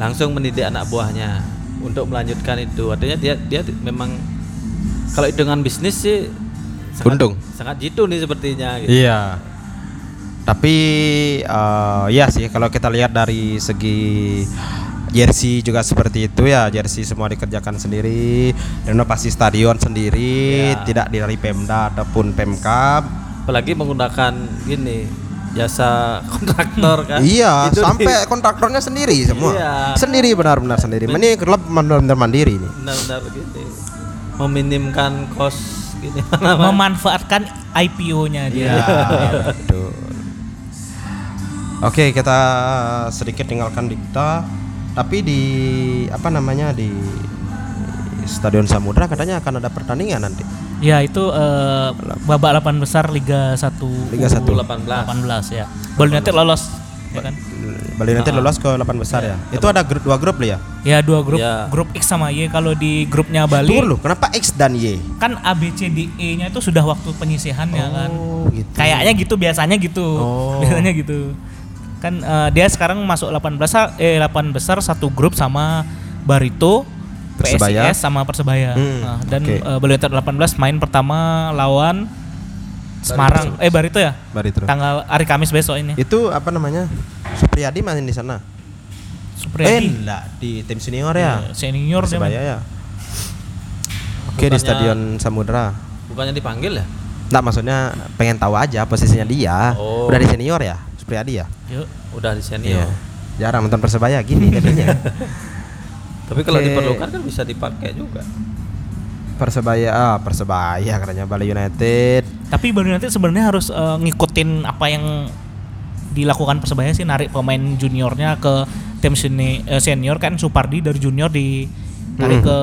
S2: langsung mendidik anak buahnya untuk melanjutkan itu artinya dia dia ti- memang kalau hitungan bisnis sih sangat,
S1: Untung.
S2: sangat jitu nih sepertinya gitu.
S1: Iya. Tapi eh, ya sih kalau kita lihat dari segi jersey juga seperti itu ya jersey semua dikerjakan sendiri renovasi stadion sendiri
S2: Ya.
S1: tidak dari Pemda ataupun Pemkab
S2: apalagi menggunakan gini jasa kontraktor kan
S1: iya
S2: Itu
S1: sampai
S2: di-
S1: kontraktornya sendiri semua
S2: Iya.
S1: sendiri benar-benar sendiri ini klub benar-benar mandiri ini
S2: benar-benar gini meminimkan kos gini
S3: memanfaatkan IPO-nya dia.
S1: Iya, betul. Oke, kita sedikit tinggalkan dikta, tapi di apa namanya di Stadion Samudra katanya akan ada pertandingan nanti.
S3: Ya itu eh, babak 8 besar Liga 1
S1: Liga 1.
S2: 18
S3: 18 ya. Bali United lolos ya kan?
S1: Bali nanti lolos ke 8 besar ya.
S3: Iya.
S1: Itu ada grup dua grup ya.
S3: Ya dua grup,
S2: Ya.
S3: grup X sama Y kalau di grupnya Bali
S1: Tunggu dulu, kenapa X dan Y?
S3: kan A B C D E-nya itu sudah waktu penyisihannya kan.
S1: Oh, gitu.
S3: Kayaknya gitu biasanya gitu.
S1: Oh.
S3: Biasanya gitu. Kan eh, dia sekarang masuk 18 besar- eh 8 besar satu grup sama Barito,
S1: Persebaya.
S3: PSIS sama Persebaya.
S1: Hmm,
S3: Nah, dan
S1: oke.
S3: eh, Bali United 18 main pertama lawan Semarang. Eh Barito ya?
S1: Barito.
S3: Tanggal hari Kamis besok ini.
S1: Itu apa namanya? Supriyadi main di sana. Eh,
S3: Supriyadi. Iya,
S1: enggak, di tim senior ya.
S3: Senior dia
S1: Persebaya
S3: main.
S1: ya. Oke, di
S2: Bukannya-
S1: Stadion Samudra.
S2: bukannya dipanggil ya
S1: Nggak maksudnya pengen tahu aja posisinya dia.
S2: Oh.
S1: Udah di senior ya, Supriyadi ya.
S3: Yuk.
S2: udah di
S1: Iya.
S2: senior
S1: Jarang nonton persebaya gini jadinya.
S2: tapi kalau
S1: Oke.
S2: diperlukan kan bisa dipakai juga
S1: persebaya, ah, persebaya katanya Bali United.
S3: Tapi Bali United sebenarnya harus eh, ngikutin apa yang dilakukan Persebaya sih narik pemain juniornya ke tim seni- eh, senior kan Supardi dari junior di tarik
S1: Hmm.
S3: ke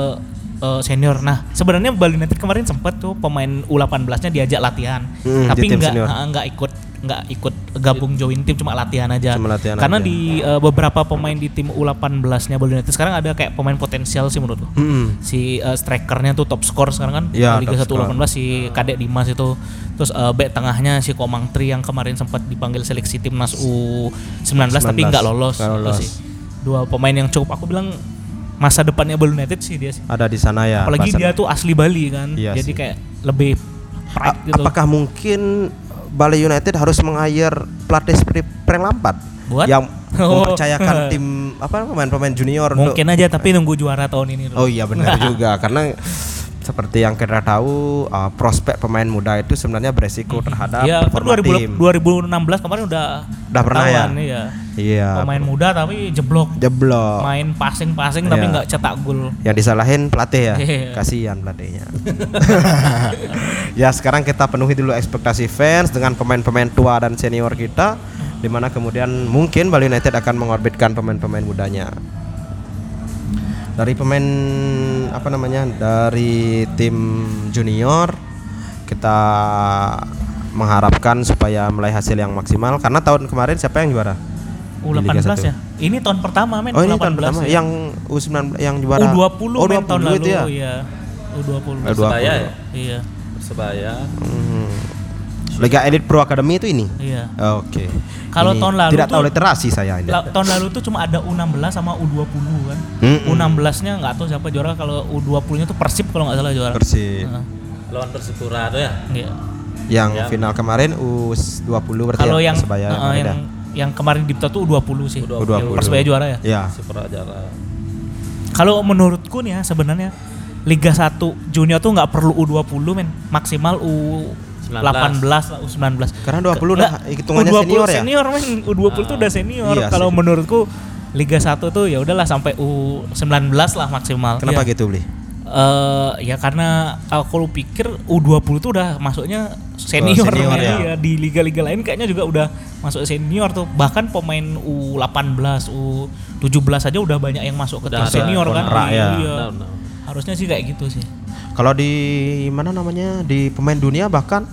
S3: eh, senior. Nah, sebenarnya Bali United kemarin sempat tuh pemain U18-nya diajak latihan,
S1: Hmm, di
S3: tapi
S1: tim
S3: nggak
S1: senior.
S3: ah, nggak ikut nggak ikut gabung join tim cuma latihan aja.
S1: Cuma latihan aja.
S3: Karena di eh, beberapa pemain di tim U18-nya Bali United sekarang ada kayak pemain potensial sih menurutku
S1: Mm-mm.
S3: si eh, strikernya tuh top score sekarang kan
S1: Iya,
S3: Liga
S1: top
S3: 1 18 si Kadek Dimas itu terus eh, back tengahnya si Komang Tri yang kemarin sempat dipanggil seleksi timnas U19
S1: 19,
S3: tapi nggak lolos,
S1: nggak
S3: Itu
S1: lolos.
S3: sih. dua pemain yang cukup aku bilang masa depannya Bali United sih dia sih
S1: Ada di sana ya.
S3: apalagi
S1: Barcelona.
S3: dia tuh asli Bali kan
S1: Iya
S3: jadi
S1: sih.
S3: kayak lebih pride
S1: A-
S3: gitu
S1: Apakah mungkin Bali United harus meng-hire pelatih seperti Frank Lampard
S3: What?
S1: yang
S3: Oh.
S1: mempercayakan tim apa pemain-pemain junior untuk-
S3: mungkin aja tapi nunggu juara tahun ini dulu.
S1: Oh iya benar juga karena seperti yang kita tahu uh, prospek pemain muda itu sebenarnya beresiko terhadap
S3: ya per
S1: performa
S3: 2000
S1: tim.
S3: 2016 kemarin udah
S1: Udah pernah ya?
S3: ketahuan, iya.
S1: Iya.
S3: pemain muda tapi jeblok
S1: jeblok.
S3: main passing-passing tapi
S1: Iya.
S3: nggak cetak gol
S1: Yang disalahin pelatih ya.
S3: Iya.
S1: Kasihan pelatihnya. ya, sekarang kita penuhi dulu ekspektasi fans dengan pemain-pemain tua dan senior kita di mana kemudian mungkin Bali United akan mengorbitkan pemain-pemain mudanya. Dari pemain apa namanya? Dari tim junior kita mengharapkan supaya meraih hasil yang maksimal karena tahun kemarin siapa yang juara? Di Liga
S3: U18
S1: satu.
S3: ya. Ini tahun pertama men
S1: Oh ini
S3: U18
S1: tahun pertama
S3: ya.
S1: yang U19 yang juara
S3: U20
S1: oh,
S3: men tahun
S1: 20
S3: lalu
S1: itu
S3: ya.
S1: ya.
S3: U20.
S1: Dua
S2: Persebaya
S1: puluh.
S2: ya
S3: Iya.
S2: Persebaya
S1: Hmm. Liga Elite Pro Academy itu ini.
S3: Iya.
S1: Oke.
S3: Kalau
S1: Ini
S3: tahun lalu
S1: tidak
S3: tuh-
S1: tahu literasi saya ini.
S3: La- tahun lalu tuh cuma ada U16 sama U20 kan.
S1: Mm-mm.
S3: U16-nya nggak tahu siapa juara kalau U20-nya tuh Persib kalau nggak salah juara.
S1: Persib. iya.
S3: Heeh.
S2: lawan Persipura tuh ya
S3: Iya.
S1: Yang final kemarin U20 berarti
S3: Kalau
S1: ya,
S3: yang
S1: Persebaya
S3: heeh,
S1: kemarin
S3: yang yang kemarin di tuh U20 sih.
S1: ya. U20.
S3: Persebaya juara ya.
S1: Iya.
S2: Persipura juara
S3: Kalau menurutku nih ya sebenarnya Liga 1 junior tuh nggak perlu U20 men, maksimal U18 lah U19.
S1: Karena 20 udah
S3: Nggak,
S1: hitungannya
S3: U20
S1: senior ya.
S3: men. U20 tuh udah senior.
S1: Iya
S3: Kalau
S1: sih.
S3: menurutku Liga 1 tuh ya udahlah sampai U19 lah maksimal.
S1: Kenapa
S3: ya.
S1: gitu beli?
S3: Eh, ya karena aku pikir U20 tuh udah masuknya senior,
S1: Oh, senior
S3: Jadi
S1: ya.
S3: ya di liga-liga lain kayaknya juga udah masuk senior tuh. Bahkan pemain U18, U17 aja udah banyak yang masuk ke tim
S2: Udah ada
S3: senior kan.
S1: kontrak ya.
S3: Iya.
S2: Benar, benar.
S3: Harusnya sih kayak gitu sih.
S1: Kalau di mana namanya di pemain dunia bahkan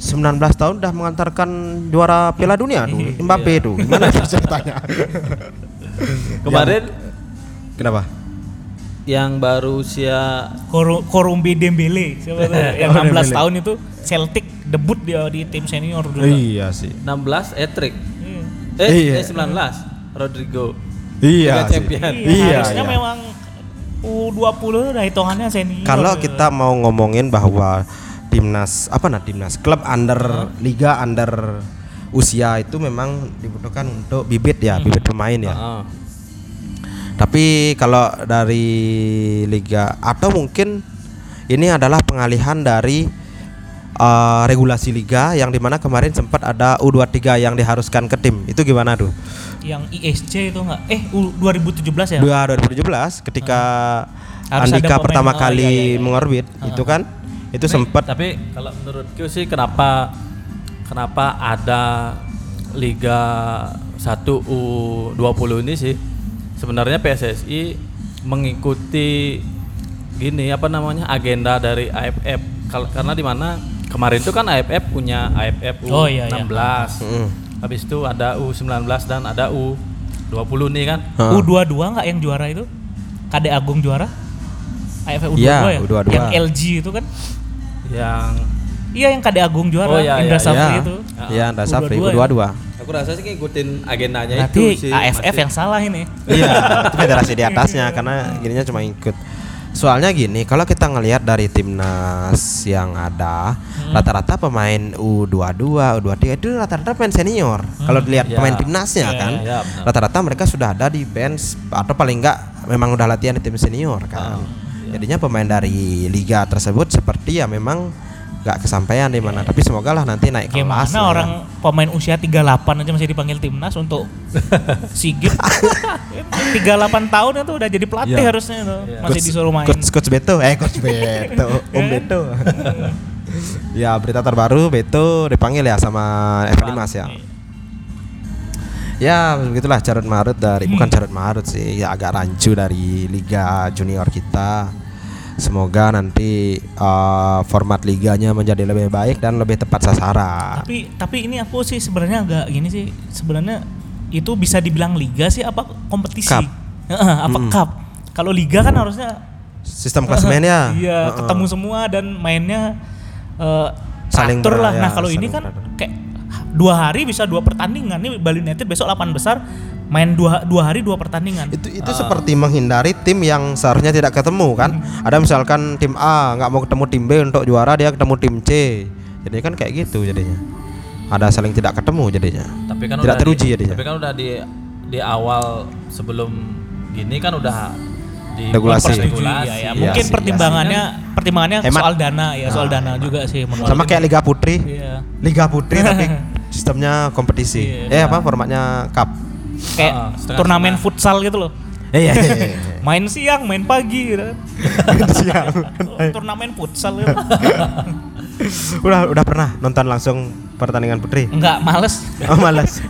S1: 19 tahun udah mengantarkan juara Piala Dunia dulu
S3: Iya.
S1: Mbappe itu. Gimana tuh ceritanya?
S2: kemarin
S1: Kenapa?
S2: yang baru usia
S3: Kor Korumbi Dembele siapa tuh?
S1: Oh,
S3: yang 16 tahun itu Celtic debut dia di tim senior dulu.
S1: Iya sih.
S2: 16 Etrik
S3: Iya.
S2: Eh,
S1: Iya.
S2: eh, 19 Rodrigo.
S1: Iya
S2: Liga
S1: sih.
S2: Champion.
S1: Iya,
S3: harusnya
S1: iya.
S3: memang U20 itu udah hitungannya senior.
S1: Kalau kita mau ngomongin bahwa timnas apa nah timnas klub under liga under Ah. usia itu memang dibutuhkan untuk bibit ya, bibit pemain ya.
S2: Ah,
S1: Tapi kalau dari liga atau mungkin ini adalah pengalihan dari eh, regulasi liga yang dimana kemarin sempat ada U23 yang diharuskan ke tim. Itu gimana tuh?
S3: Yang ISC itu enggak eh U- 2017 ya?
S1: Dua- 2017 ketika
S3: Harus ada
S1: Andika
S3: pemain-
S1: pertama
S3: oh,
S1: kali
S3: iya, iya, iya.
S1: mengorbit itu kan itu sempat
S2: Tapi kalau menurutku sih kenapa kenapa ada Liga 1 U20 ini sih sebenarnya PSSI mengikuti gini apa namanya agenda dari AFF Kal- karena di mana kemarin itu kan AFF punya AFF U16
S3: Oh, iya, iya.
S1: Mm.
S2: habis itu ada U19 dan ada U20 nih kan
S1: Heeh.
S3: U22 enggak yang juara itu? Kade Agung juara? AFF U22
S1: Iya,
S3: ya?
S1: U22.
S3: Yang LG itu kan?
S2: yang
S3: Iya yang Kade Agung juara,
S2: Oh, iya,
S3: Indra
S2: iya,
S3: Safri
S1: ya,
S3: itu.
S1: ya Andra Safri
S3: U22 ya?
S1: U22.
S2: aku rasa sih ngikutin agendanya
S3: Berarti
S2: itu sih
S3: AFF
S2: masih.
S3: yang salah ini.
S1: Iya, itu federasi di atasnya karena gininya cuma ikut. Soalnya gini, kalau kita ngelihat dari timnas yang ada,
S2: Hmm.
S1: rata-rata pemain U22, U23 itu rata-rata pemain senior. Kalau dilihat
S2: Iya.
S1: pemain timnasnya
S3: Iya,
S1: kan,
S2: iya, benar.
S1: rata-rata mereka sudah ada di bench atau paling enggak memang udah latihan di tim senior kan.
S2: Ah, iya.
S1: Jadinya pemain dari liga tersebut seperti ya memang nggak kesampaian di mana,
S2: Iya,
S1: tapi semoga lah nanti naik
S3: Gimana
S1: kelas. ya.
S3: orang pemain usia 38 aja masih dipanggil timnas untuk sigit 38 tahun itu udah jadi pelatih
S1: Iya.
S3: harusnya itu. Masih disuruh main. Kan?
S1: Coach, coach Beto, eh coach Beto, Om Beto. ya berita terbaru Beto dipanggil ya sama Evan Dimas
S3: iya.
S1: ya. Ya begitulah carut marut
S3: Hmm.
S1: dari bukan carut marut sih ya agak rancu dari liga junior kita. Semoga nanti eh, format liganya menjadi lebih baik dan lebih tepat sasaran.
S3: Tapi tapi ini aku sih sebenarnya agak gini sih. Sebenarnya itu bisa dibilang liga sih apa kompetisi?
S1: Cup.
S3: Heeh, apa cup? Kalau liga kan harusnya
S1: Sistem klasemen ya.
S3: Iya,
S1: Heeh.
S3: ketemu semua dan mainnya eh
S1: Saling
S3: teratur
S1: ber-
S3: lah.
S1: ya,
S3: nah, kalau ini
S1: saling
S3: kan
S1: ber-
S3: kayak dua hari bisa dua pertandingan. Nih Bali United besok 8 besar main dua, dua hari dua pertandingan.
S1: Itu itu seperti menghindari tim yang seharusnya tidak ketemu kan.
S3: Hmm.
S1: Ada misalkan tim A nggak mau ketemu tim B untuk juara dia ketemu tim C. Jadi kan kayak gitu jadinya. Ada saling tidak ketemu jadinya.
S2: Tapi kan
S1: tidak
S2: udah
S1: teruji ya
S2: di,
S1: jadinya.
S2: Tapi kan udah di di awal sebelum gini kan udah di
S1: Regulasi.
S2: regulasi.
S3: Iya, ya,
S1: Iya
S3: mungkin
S1: sih, iya
S3: pertimbangannya pertimbangannya
S1: Hemat. Ah.
S3: soal dana ya, soal dana juga sih menurut
S1: Sama
S3: aku.
S1: kayak Liga Putri.
S3: Iya.
S1: Liga Putri tapi sistemnya kompetisi. eh apa formatnya cup.
S3: kayak
S2: Ah, setengah
S3: turnamen futsal gitu loh.
S1: Iya.
S3: Main siang, main pagi gitu. kan.
S1: Eh. Siap.
S3: turnamen futsal gitu.
S1: udah udah pernah nonton langsung pertandingan Putri?
S3: Enggak, males.
S1: Oh, malas.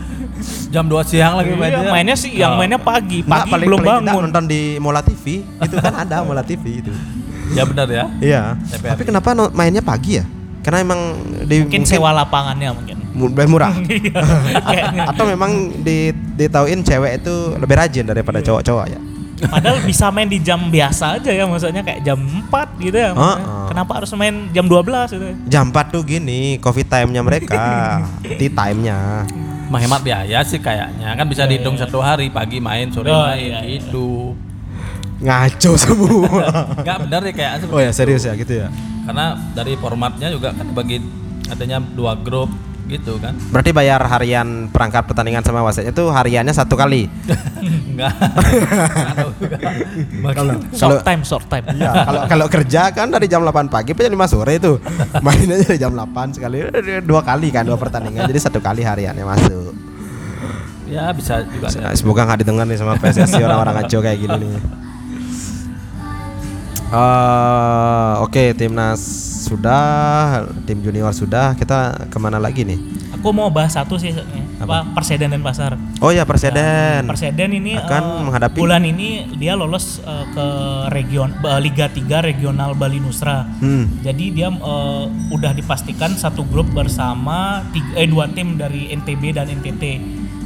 S2: Jam 2 siang lagi mainnya.
S3: Iya, mainnya sih yang mainnya pagi,
S1: Nggak,
S3: pagi belum
S1: Oh. paling tidak
S3: bangun.
S1: nonton di Mola TV. Itu kan ada Mola TV itu.
S2: Ya benar ya.
S1: Iya.
S2: TPRI.
S1: Tapi kenapa no- mainnya pagi ya? Karena emang di
S3: Mungkin sewa lapangannya mungkin.
S1: mu- lebih murah.
S3: Iya, kayaknya.
S1: Atau memang di ditauin cewek itu lebih rajin daripada cowok-cowok ya.
S3: Padahal bisa main di jam biasa aja ya, maksudnya kayak jam 4 gitu ya. maksudnya.
S1: Heeh.
S3: Kenapa harus main jam 12 gitu? ya.
S1: Jam 4 tuh gini, coffee time-nya mereka, tea time-nya.
S2: Menghemat biaya sih kayaknya. Kan bisa dihitung satu hari pagi main, sore
S3: Oh,
S2: main
S3: iya, iya.
S2: gitu.
S1: Ngaco semua.
S2: Enggak benar ya kayak
S1: oh ya serius ya gitu ya.
S2: Karena dari formatnya juga kan bagi adanya dua grup gitu kan.
S1: Berarti bayar harian perangkat pertandingan sama wasitnya itu hariannya satu kali.
S2: Enggak. Kalau
S3: Short time, short time.
S1: Iya, kalau kalau kerja kan dari jam 8 pagi sampai jam 5 sore itu. Mainnya dari jam 8 sekali dua kali kan dua pertandingan jadi satu kali hariannya masuk.
S2: ya bisa juga.
S1: Se- Semoga nggak didengar nih sama PSSI orang-orang ngaco kayak gini nih. Eh, Oke, timnas sudah, tim junior sudah. Kita kemana lagi nih?
S3: Aku mau bahas satu sih, apa, Perseden dan Pasar.
S1: Oh ya Perseden.
S3: Perseden ini
S1: Akan
S3: eh,
S1: menghadapi-
S3: bulan ini dia lolos eh, ke region eh, Liga 3 regional Bali Nusra.
S1: Hmm.
S3: Jadi dia eh, udah dipastikan satu grup bersama tiga, eh dua tim dari NTB dan NTT.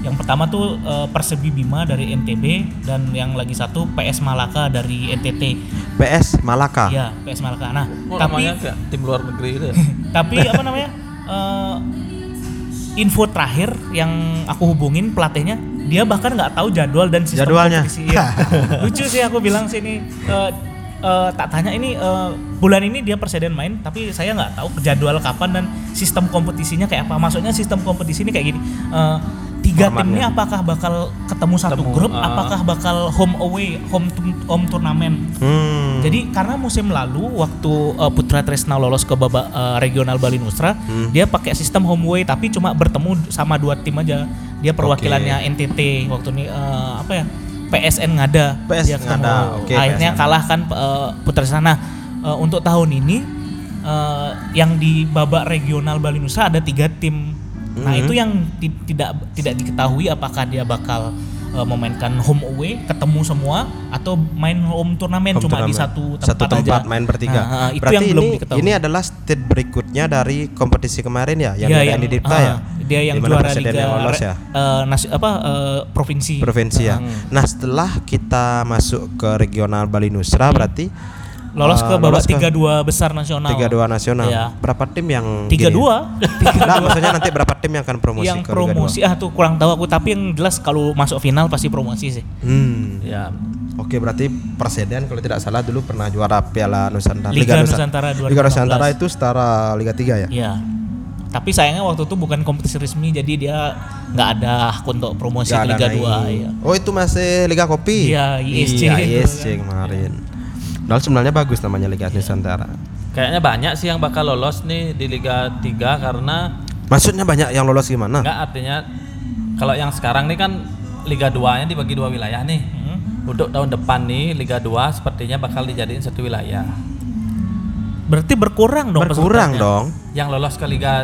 S3: Yang pertama tuh eh, Persebi Bima dari NTB dan yang lagi satu PS Malaka dari NTT.
S1: PS Malaka.
S3: Iya, PS Malaka. Nah,
S2: Oh,
S3: tapi
S2: namanya kayak tim luar negeri itu ya.
S3: tapi apa namanya eh, info terakhir yang aku hubungin pelatihnya dia bahkan nggak tahu jadwal dan sistem
S1: Jadwalnya.
S3: kompetisi, iya. lucu sih aku bilang sini eh, eh, tak tanya ini eh, bulan ini dia perseden main tapi saya nggak tahu jadwal kapan dan sistem kompetisinya kayak apa maksudnya sistem kompetisi ini kayak gini eh, tiga tim ini
S1: Formatnya.
S3: apakah bakal ketemu satu
S5: Ketemu,
S3: grup
S5: ah.
S3: apakah bakal home away home tu- home turnamen
S1: Hmm.
S3: jadi karena musim lalu waktu eh, Putra Tresna lolos ke babak eh, regional Bali Nusra,
S1: Hmm.
S3: dia pakai sistem home away tapi cuma bertemu sama dua tim aja. Dia perwakilannya NTT waktu ini eh, apa ya? PSN ngada.
S1: PS
S3: dia ketemu.
S1: Ngada, oke,
S3: Akhirnya
S1: PSN.
S3: kalah kan eh, Putra Tresna. Nah, eh, untuk tahun ini eh, yang di babak regional Bali Nusa ada tiga tim. Nah,
S1: Hmm.
S3: itu yang ti- tidak tidak diketahui apakah dia bakal eh, memainkan home away ketemu semua atau main home turnamen
S1: Home
S3: cuma di
S1: turnamen.
S3: satu tempat
S1: satu tempat
S3: aja.
S1: main bertiga.
S3: Nah, ah, itu
S1: Berarti
S3: yang belum
S1: ini
S3: diketahui.
S1: ini adalah stage berikutnya dari kompetisi kemarin ya yang ada
S3: Iya,
S1: di Dipta
S3: ah,
S1: ya.
S3: Dia yang
S1: Di mana
S3: juara
S1: presiden
S3: liga
S1: yang lolos ya.
S3: eh, nasi- apa eh, provinsi.
S1: Provinsi ya.
S3: Hmm.
S1: Nah, setelah kita masuk ke regional Bali Nusra berarti
S3: lolos ke
S1: eh,
S3: babak
S1: lolos ke
S3: 32 besar nasional.
S1: 32 nasional.
S3: Iya.
S1: Berapa tim yang
S3: 32
S1: 32. Nah, maksudnya nanti berapa tim yang akan promosi
S3: yang
S1: ke Liga dua?
S3: promosi ah tuh kurang tahu aku tapi yang jelas kalau masuk final pasti promosi sih.
S1: Hmm.
S5: ya
S1: Oke, berarti Perseden kalau tidak salah dulu pernah juara Piala Nusantara.
S3: Liga
S1: Nusa-
S3: Nusantara
S1: Liga Nusantara
S3: 2016.
S1: itu setara Liga 3 ya.
S3: Iya. Tapi sayangnya waktu itu bukan kompetisi resmi jadi dia nggak ada hak untuk promosi
S1: Nggak
S3: ke
S1: ada
S3: Liga
S1: naik.
S3: 2 iya.
S1: Oh itu masih Liga Kopi.
S3: Iya, ISC.
S1: Iya ISC kemarin.
S3: Iya.
S1: Padahal sebenarnya bagus namanya Liga Nusantara.
S5: kayaknya banyak sih yang bakal lolos nih di Liga 3 karena
S1: Maksudnya banyak yang lolos gimana?
S5: Enggak artinya kalau yang sekarang nih kan Liga 2-nya dibagi dua wilayah nih. Untuk tahun depan nih Liga 2 sepertinya bakal dijadiin satu wilayah.
S3: Berarti berkurang dong
S1: Berkurang
S3: pesertanya.
S1: dong.
S5: Yang lolos ke Liga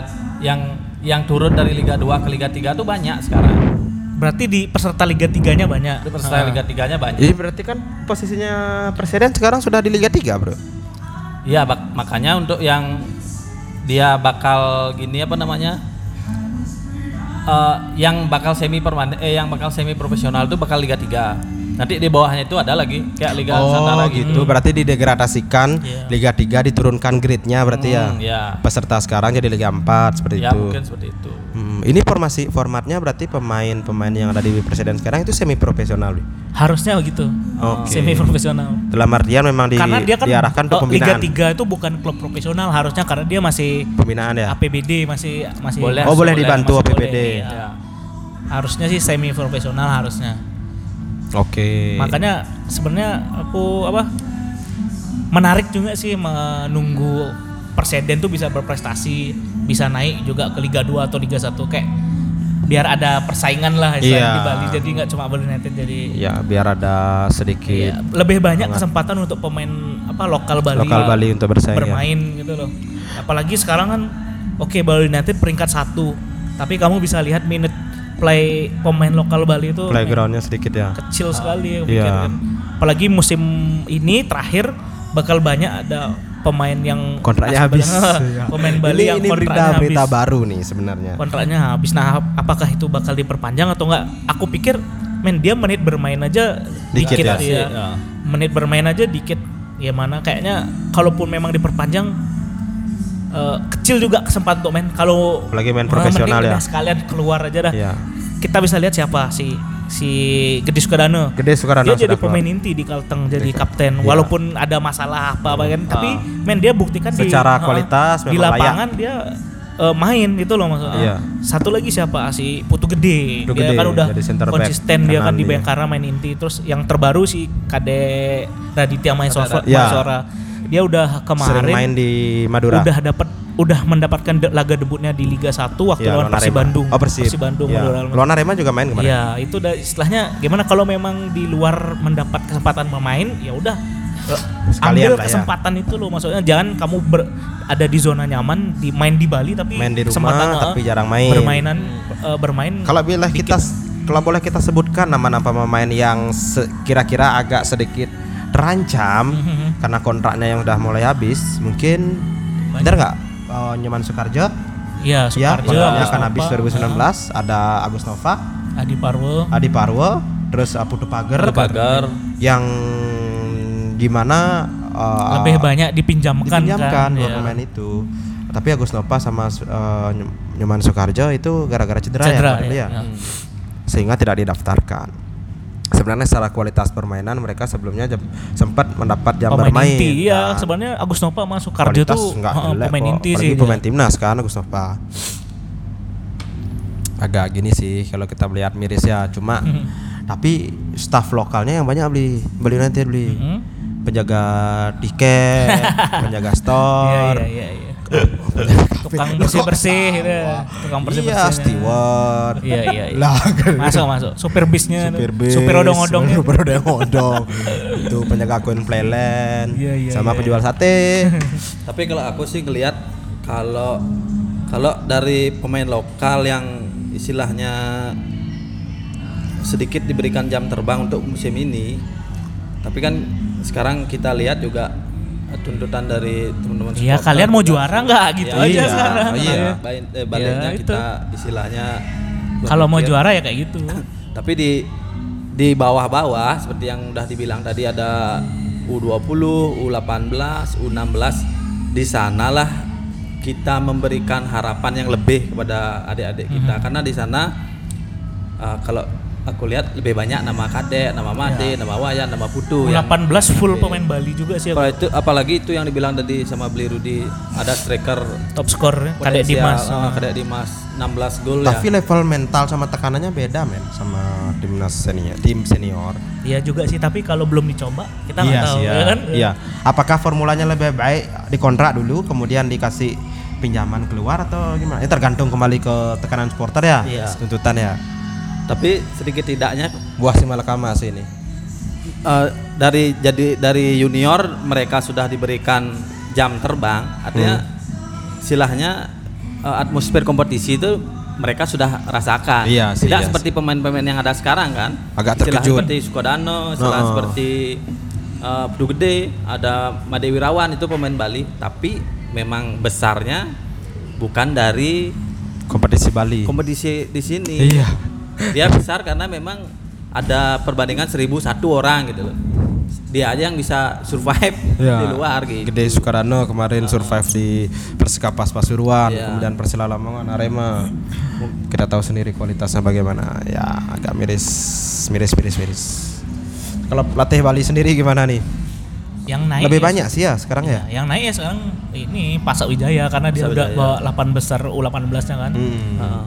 S5: yang yang turun dari Liga 2 ke Liga 3 tuh banyak sekarang.
S3: Berarti di peserta Liga 3-nya banyak.
S5: Itu peserta Liga 3-nya banyak.
S1: Jadi berarti kan posisinya Presiden sekarang sudah di Liga 3, Bro.
S5: Iya, bak- makanya untuk yang dia bakal gini apa namanya? Eh, yang bakal semi permanen eh yang bakal semi profesional tuh bakal Liga 3. Nanti di bawahnya itu ada lagi kayak Liga Nusantara
S1: oh,
S5: gitu.
S1: gitu.
S3: Hmm.
S1: Berarti didegradasikan
S3: Iya.
S1: Liga 3 diturunkan grade-nya berarti ya.
S5: Hmm, ya.
S1: Peserta sekarang jadi Liga 4 seperti
S5: Ya
S1: itu.
S5: mungkin seperti itu.
S1: Hmm, ini formasi formatnya berarti pemain-pemain yang ada di Presiden sekarang itu semi profesional. Bro.
S3: Harusnya begitu.
S1: Oke.
S3: Semi profesional.
S1: Dalam artian memang di,
S3: Oh. karena dia kan
S1: diarahkan untuk
S3: eh, Liga
S1: pembinaan.
S3: 3 itu bukan klub profesional harusnya karena dia masih
S1: Pembinaan ya.
S3: APBD masih masih
S5: Boleh.
S1: Oh, boleh dibantu
S3: masih
S1: APBD.
S3: boleh, iya.
S5: Ya.
S3: Harusnya sih semi profesional harusnya.
S1: Oke.
S3: Makanya sebenarnya aku apa menarik juga sih menunggu Perseden tuh bisa berprestasi, bisa naik juga ke Liga 2 atau Liga 1 kayak biar ada persaingan lah istilahnya
S1: Iya.
S3: di Bali jadi nggak cuma Bali United jadi
S1: ya biar ada sedikit
S3: Iya, lebih banyak kesempatan untuk pemain apa lokal Bali
S1: lokal Bali untuk bersaing. ya.
S3: bermain gitu loh. Apalagi sekarang kan oke Bali United peringkat satu, tapi kamu bisa lihat minute play pemain lokal Bali itu
S1: Playgroundnya sedikit ya.
S3: kecil sekali ya
S1: Iya.
S3: mungkin kan. Apalagi musim ini terakhir bakal banyak ada pemain yang
S1: Kontraknya habis. Iya.
S3: pemain Bali
S1: ini,
S3: yang
S1: ini berita
S3: kontraknya
S1: berita
S3: habis.
S1: baru nih sebenarnya.
S3: Kontraknya habis. Nah, ap- apakah itu bakal diperpanjang atau enggak? Aku pikir men dia menit bermain aja
S1: Dikit ya.
S3: dikit, ya.
S5: Ya.
S3: Menit bermain aja dikit. Ya mana kayaknya kalaupun memang diperpanjang eh, kecil juga kesempatan untuk main kalau
S1: Apalagi main
S3: "Ah,
S1: profesional
S3: mending
S1: ya."
S3: udah sekalian keluar aja dah
S1: Iya.
S3: kita bisa lihat siapa si si Gede Sukadana.
S1: Gede Sukarno
S3: Dia
S1: sudah
S3: jadi
S1: keluar.
S3: pemain inti di Kalteng, jadi
S1: Iya. Ah.
S3: kapten. Walaupun ada masalah apa apa kan, tapi men dia buktikan di-
S1: Secara
S3: ha,
S1: kualitas
S3: di
S1: memang
S3: lapangan dia eh, main gitu loh maksudnya.
S1: Iya.
S3: Satu lagi siapa si Putu Gede.
S1: Putu Gede,
S3: dia kan udah
S1: jadi center back
S3: konsisten dia
S1: kanan
S3: kan di
S1: dia.
S3: Bengkara main inti. Terus yang terbaru si Kade Raditya Maesora.
S1: Iya.
S3: Maesora. Dia udah kemarin
S1: Sering main di Madura.
S3: udah dapat udah mendapatkan de- laga debutnya di Liga 1 waktu
S1: Iya,
S3: lawan Persib
S1: Arema.
S3: Bandung.
S1: Oh, Persib.
S3: Bandung
S1: Iya.
S3: Madura.
S1: Lawan Arema juga main kemarin.
S3: Iya, itu udah istilahnya gimana kalau memang di luar mendapat kesempatan memain, ya udah eh,
S1: Sekalian
S3: ambil
S1: lah ya.
S3: kesempatan itu loh maksudnya jangan kamu ber- ada di zona nyaman di main di Bali tapi
S1: Main di rumah,
S3: kesempatan, eh,
S1: tapi jarang main.
S3: Bermainan eh, bermain
S1: Kalau boleh kita kalau boleh kita sebutkan nama-nama pemain yang se- kira-kira agak sedikit terancam
S3: Mhm,
S1: karena kontraknya yang udah mulai habis, mungkin benar nggak? Oh, Nyoman Sukarjo, ya,
S3: ya Sukarjo,
S1: kontraknya
S3: Agus
S1: akan
S3: Nova,
S1: habis 2019. Ada Agus Nova,
S3: eh, Adi Parwo.
S1: Adi Parwo, terus uh, Putu Pager,
S5: Pagar
S1: yang gimana uh,
S3: lebih banyak dipinjamkan,
S1: dipinjamkan dua
S3: Iya.
S1: pemain itu. Tapi Agus Nova sama uh, Nyum- Nyoman Sukarjo itu gara-gara cedera,
S3: Cedera,
S1: ya, Pak?
S3: iya.
S1: Iya. sehingga tidak didaftarkan. Sebenarnya secara kualitas permainan mereka sebelumnya jam- sempat mendapat jam
S3: pemain
S1: bermain. Nah,
S3: inti iya
S1: dan
S3: sebenarnya Agus Nova sama Sukarjo
S1: kualitas
S3: tuh
S1: nggak
S3: eh,
S1: jelek
S3: pemain
S1: kok.
S3: inti
S1: Apalagi
S3: sih
S1: pemain timnas kan Agus Nova. agak gini sih kalau kita melihat miris ya cuma
S3: Mm-hmm.
S1: tapi staff lokalnya yang banyak beli beli nanti beli
S3: Mm-hmm.
S1: penjaga tiket penjaga store
S3: Iya, iya, iya. Tukang bersih-bersih gitu. Tukang bersih-bersih.
S1: iya steward
S3: Iya, iya, iya.
S1: lah kan.
S3: Masuk, masuk. Supir bisnya.
S1: supir bis
S3: Supir ya. odong-odongnya.
S1: supir odong-odong itu penjaga koin playland
S3: Iya, iya,
S1: sama
S3: iya.
S1: penjual sate
S2: Tapi kalau aku sih ngelihat kalau kalau dari pemain lokal yang istilahnya sedikit diberikan jam terbang untuk musim ini, tapi kan sekarang kita lihat juga eh, tuntutan dari teman-teman.
S3: Iya,
S2: supporter
S3: kalian mau
S2: juga.
S3: juara nggak gitu
S2: Iya,
S3: aja
S2: iya,
S3: sekarang.
S2: Iya. Bain- eh, baliknya
S3: Ya, itu.
S2: kita istilahnya.
S3: Kalau mau
S1: iya.
S2: berpikir
S3: juara ya kayak gitu.
S2: tapi di di bawah-bawah seperti yang udah dibilang tadi ada U20, U18, U16 di sanalah kita memberikan harapan yang lebih kepada adik-adik kita
S3: Mm-hmm.
S2: karena di sana uh, kalau aku lihat lebih banyak nama kadek, nama
S3: Iya.
S2: made, nama wayan, nama putu yang
S3: 18
S1: Iya.
S3: full pemain Bali juga sih aku.
S2: Apa itu apalagi itu yang dibilang tadi sama Beli Rudi ada striker
S3: top skor
S2: potensial,
S3: Kadek Dimas.
S2: uh, kadek Dimas 16 gol ya.
S1: tapi level mental sama tekanannya beda men sama timnas senior tim senior
S3: Iya juga sih, tapi kalau belum dicoba kita nggak
S1: iya
S3: tahu
S1: sih ya.
S3: ya kan.
S1: Iya. Apakah formulanya lebih baik dikontrak dulu kemudian dikasih pinjaman keluar atau gimana? Ya tergantung kembali ke tekanan supporter ya.
S2: Iya.
S1: Tuntutan ya.
S2: Tapi sedikit tidaknya
S1: Buah si Malakama sih ini.
S2: Eh, dari jadi dari junior mereka sudah diberikan jam terbang artinya
S1: Hmm.
S2: silahnya eh, atmosfer kompetisi itu mereka sudah rasakan
S1: Iya sih,
S2: tidak
S1: iya
S2: seperti pemain-pemain yang ada sekarang kan
S1: Agak
S2: Istilah
S1: terkejut.
S2: seperti Sukodano istilah
S1: Oh.
S2: seperti eh, Pedu Gede ada Made Wirawan itu pemain Bali tapi memang besarnya bukan dari
S1: Kompetisi Bali.
S2: kompetisi di sini
S1: iya.
S2: dia besar karena memang ada perbandingan 1001 orang gitu loh dia aja yang bisa survive
S1: Iya.
S2: di luar gitu
S1: Gede Sukarno kemarin
S3: Ah.
S1: survive di Persikapas Pasuruan,
S2: Iya.
S1: kemudian Persela Lamongan, Arema. Kita tahu sendiri kualitasnya bagaimana. Ya, agak miris, miris, miris, miris. Kalau pelatih Bali sendiri gimana nih?
S3: Yang naik
S1: Lebih
S3: ya
S1: banyak sih ya sekarang ya.
S3: Nah, yang naik ya sekarang ini Pasak Wijaya karena dia
S2: Pasak
S3: udah
S2: Wijaya.
S3: bawa 8 besar U18-nya kan.
S1: Hmm.
S2: Heeh.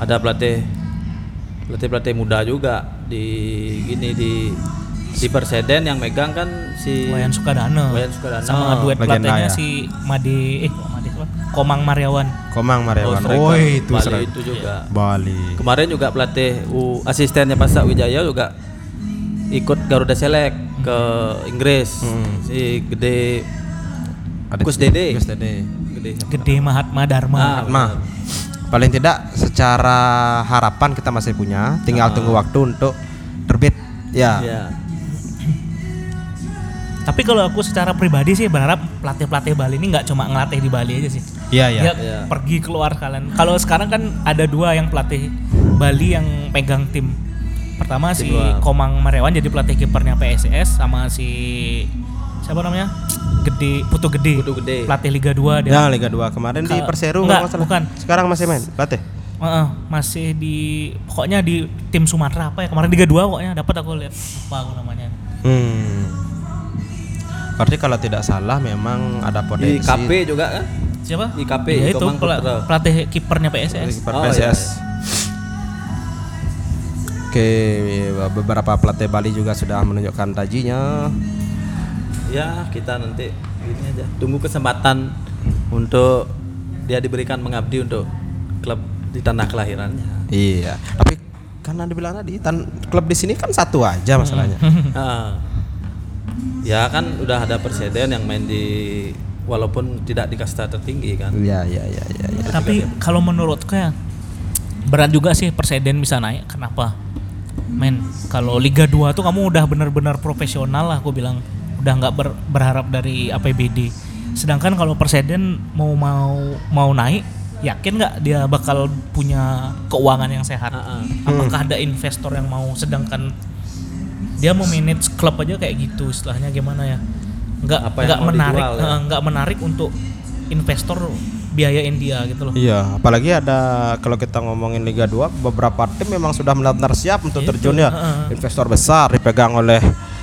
S2: ada pelatih pelatih pelatih muda juga di gini di di Perseden yang megang kan si
S3: Wayan Sukadana.
S2: Wayan Sukadana.
S3: Sama duet
S1: Legenda
S3: pelatihnya
S1: ya.
S3: si Made eh kok Made siapa? Komang Mariawan.
S1: Komang
S2: Oh,
S1: Mariawan.
S2: striker
S1: Woi, itu
S2: Bali
S1: seru.
S2: itu juga
S1: Bali.
S2: kemarin juga pelatih U, asistennya Pasak Wijaya juga ikut Garuda Select ke Inggris si gede Gus Dede
S1: Hmm. Gus Dede.
S2: gede
S3: Gede Mahatma Dharma.
S2: Ah,
S1: Ma, paling tidak secara harapan kita masih punya, tinggal tunggu waktu untuk terbit. Ya.
S2: Iya.
S3: Tapi kalau aku secara pribadi sih berharap pelatih-pelatih Bali ini nggak cuma ngelatih di Bali aja sih.
S1: Iya,
S3: Dia pergi keluar kalian. Kalau sekarang kan ada dua yang pelatih Bali yang pegang tim. Pertama si Komang Mariawan jadi pelatih kipernya PSS sama si siapa namanya? Gede Putu Gede.
S2: Putu Gede.
S3: Pelatih Liga 2 dia.
S1: Ya, Liga 2 kemarin di
S3: Ka-
S1: Perseru kalau
S3: enggak,
S1: nggak salah.
S3: bukan.
S1: Sekarang masih main pelatih.
S3: Heeh, masih di pokoknya di tim Sumatera apa ya? Kemarin Liga 2 pokoknya dapat aku lihat apa aku namanya.
S1: Hmm. Berarti kalau tidak salah memang ada
S2: di
S1: potensi
S2: KP juga kan
S3: Siapa?
S2: IKP,
S3: Ya itu
S2: Komang
S3: pela-
S2: Putra.
S3: pelatih kipernya PSS.
S1: kiper
S2: Oh, iya,
S1: PSS. Oke, beberapa pelatih Bali juga sudah menunjukkan tajinya.
S2: ya kita nanti ini aja tunggu kesempatan
S1: Hmm.
S2: untuk dia diberikan mengabdi untuk klub di tanah kelahirannya
S1: Iya, tapi karena dibilang tadi tan- klub di sini kan satu aja masalahnya.
S2: Ah. ya kan udah ada perseden yang main di walaupun tidak di kasta tertinggi kan
S1: Iya, iya, iya, iya. iya.
S3: Tapi kalau menurutku ya berat juga sih Perseden bisa naik. Kenapa? Men, kalau Liga 2 tuh kamu udah benar-benar profesional lah aku bilang. Udah nggak ber- berharap dari APBD. Sedangkan kalau Perseden mau mau mau naik, yakin nggak dia bakal punya keuangan yang sehat?
S2: Ah, ah.
S3: Apakah ada investor yang mau sedangkan dia memanage klub aja kayak gitu istilahnya gimana ya? Nggak
S2: Apa yang
S3: nggak
S2: mau
S3: menarik,
S2: dijual ya?
S3: eh, nggak menarik untuk investor biayain dia gitu loh.
S1: Iya, apalagi ada kalau kita ngomongin Liga 2 beberapa tim memang sudah benar-benar siap untuk terjun ya.
S3: heeh.
S1: Investor besar dipegang oleh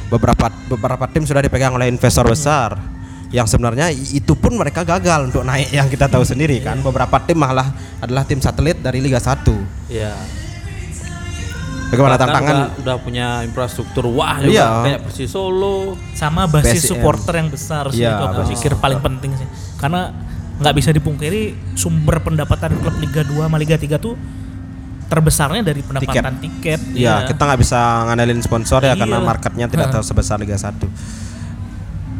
S1: beberapa beberapa tim sudah dipegang oleh investor besar. yang sebenarnya i- itu pun mereka gagal untuk naik yang kita tahu sendiri kan beberapa tim malah adalah tim satelit dari Liga 1
S2: Iya.
S1: bagaimana
S2: Bahkan
S1: tantangan
S2: udah, udah punya infrastruktur wah juga
S1: Iya.
S2: kayak Persis Solo.
S3: sama basis
S1: BSM.
S3: supporter yang besar sih
S1: Iya,
S3: itu aku
S1: basis
S3: pikir paling penting sih karena nggak bisa dipungkiri sumber pendapatan klub Liga 2 sama Liga 3 tuh terbesarnya dari pendapatan tiket,
S1: Ya,
S3: Iya.
S1: kita nggak bisa ngandelin sponsor ya karena
S3: Iya.
S1: marketnya tidak terlalu sebesar Liga 1.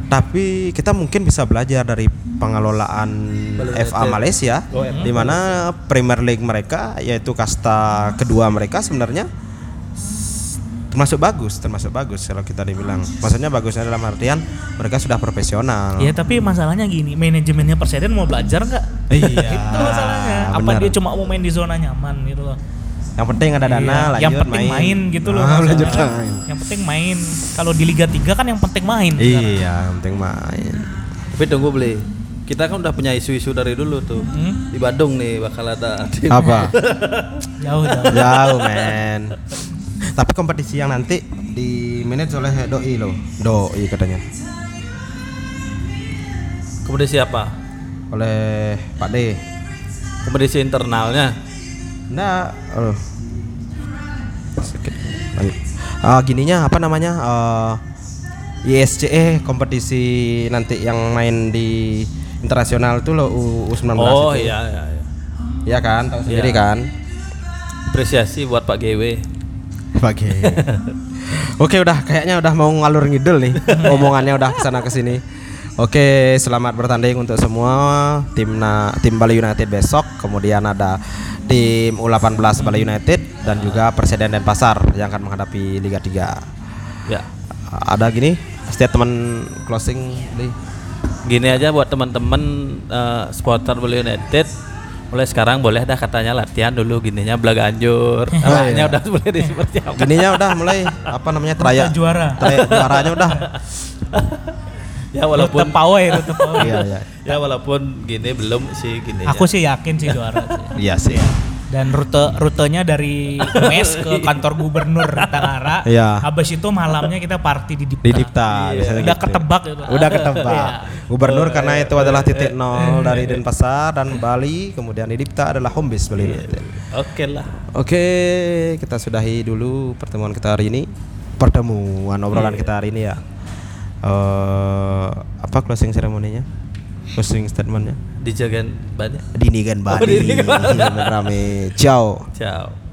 S1: Tapi kita mungkin bisa belajar dari pengelolaan FA Malaysia
S3: Oh,
S1: di mana Premier League mereka yaitu kasta kedua mereka sebenarnya s- termasuk bagus, termasuk bagus kalau kita dibilang. Maksudnya bagusnya dalam artian mereka sudah profesional.
S3: Ya tapi masalahnya gini, manajemennya Persediaan mau belajar nggak?
S1: Iya.
S3: itu masalahnya. Apa
S1: benar.
S3: dia cuma mau main di zona nyaman gitu loh?
S1: Yang penting ada dana,
S3: Iya,
S1: lanjut
S3: yang penting main, gitu loh.
S1: Ah,
S3: masalahnya.
S1: lanjut main.
S3: Yang penting main. Kalau di Liga 3 kan yang penting main. sekarang.
S1: Iya, yang penting main.
S2: Tapi tunggu beli. Kita kan udah punya isu-isu dari dulu tuh.
S3: Hmm.
S2: Di Badung nih bakal ada tim.
S1: Apa?
S3: Jauh jauh.
S1: jauh men tapi kompetisi yang nanti di manage oleh doi lo doi katanya
S2: kompetisi apa?
S1: oleh Pak D
S2: Kompetisi internalnya.
S1: nah aduh. Sedikit. Lanjut. Ah, gininya apa namanya Ah, ISCE E kompetisi nanti yang main di internasional tuh lo U- U19
S2: Oh
S1: itu.
S2: iya iya iya.
S1: Iya kan tahu sendiri
S2: Iya.
S1: kan
S2: Apresiasi buat Pak GW.
S1: Oke. Oke udah kayaknya udah mau ngalur ngidul nih. Omongannya udah kesana kesini. Oke, selamat bertanding untuk semua timna tim Bali United besok. Kemudian ada tim U18 Bali United dan juga Perseden Denpasar yang akan menghadapi Liga 3.
S2: Ya.
S1: Ada gini, statement closing Li.
S2: Gini aja buat teman-teman eh, supporter Bali United mulai sekarang boleh dah katanya latihan dulu gininya belaganjur. Namanya udah boleh ya. di seperti apa.
S1: Gininya udah mulai apa namanya
S3: Rute
S1: traya.
S3: juara.
S1: Traya juaranya udah.
S2: Ya
S3: Rute
S2: walaupun
S3: pawai, rute pawai.
S1: Iya, iya.
S2: ya walaupun gini belum sih gini.
S3: Aku sih yakin sih juara sih.
S1: Iya sih.
S3: Dan rute rutenya dari mes ke kantor gubernur Tanara.
S1: Iya.
S3: Habis itu malamnya kita party di Dipta.
S1: Di Dipta biasanya
S3: Ah, iya. Udah
S1: gitu.
S3: ketebak Iya. gitu.
S1: Udah ketebak. Gubernur karena itu adalah titik nol dari
S3: Iya.
S1: Denpasar dan Bali, kemudian di Dipta adalah home base Bali
S3: Iya.
S1: United.
S2: Oke lah.
S1: Oke, kita sudahi dulu pertemuan kita hari ini. Pertemuan
S3: Iya.
S1: obrolan kita hari ini ya. Eh, apa closing ceremoninya? Closing statementnya?
S2: Dijagain banyak.
S1: Dini kan Bali.
S2: Dini kan Bali.
S1: Rame. Ciao.
S2: Ciao.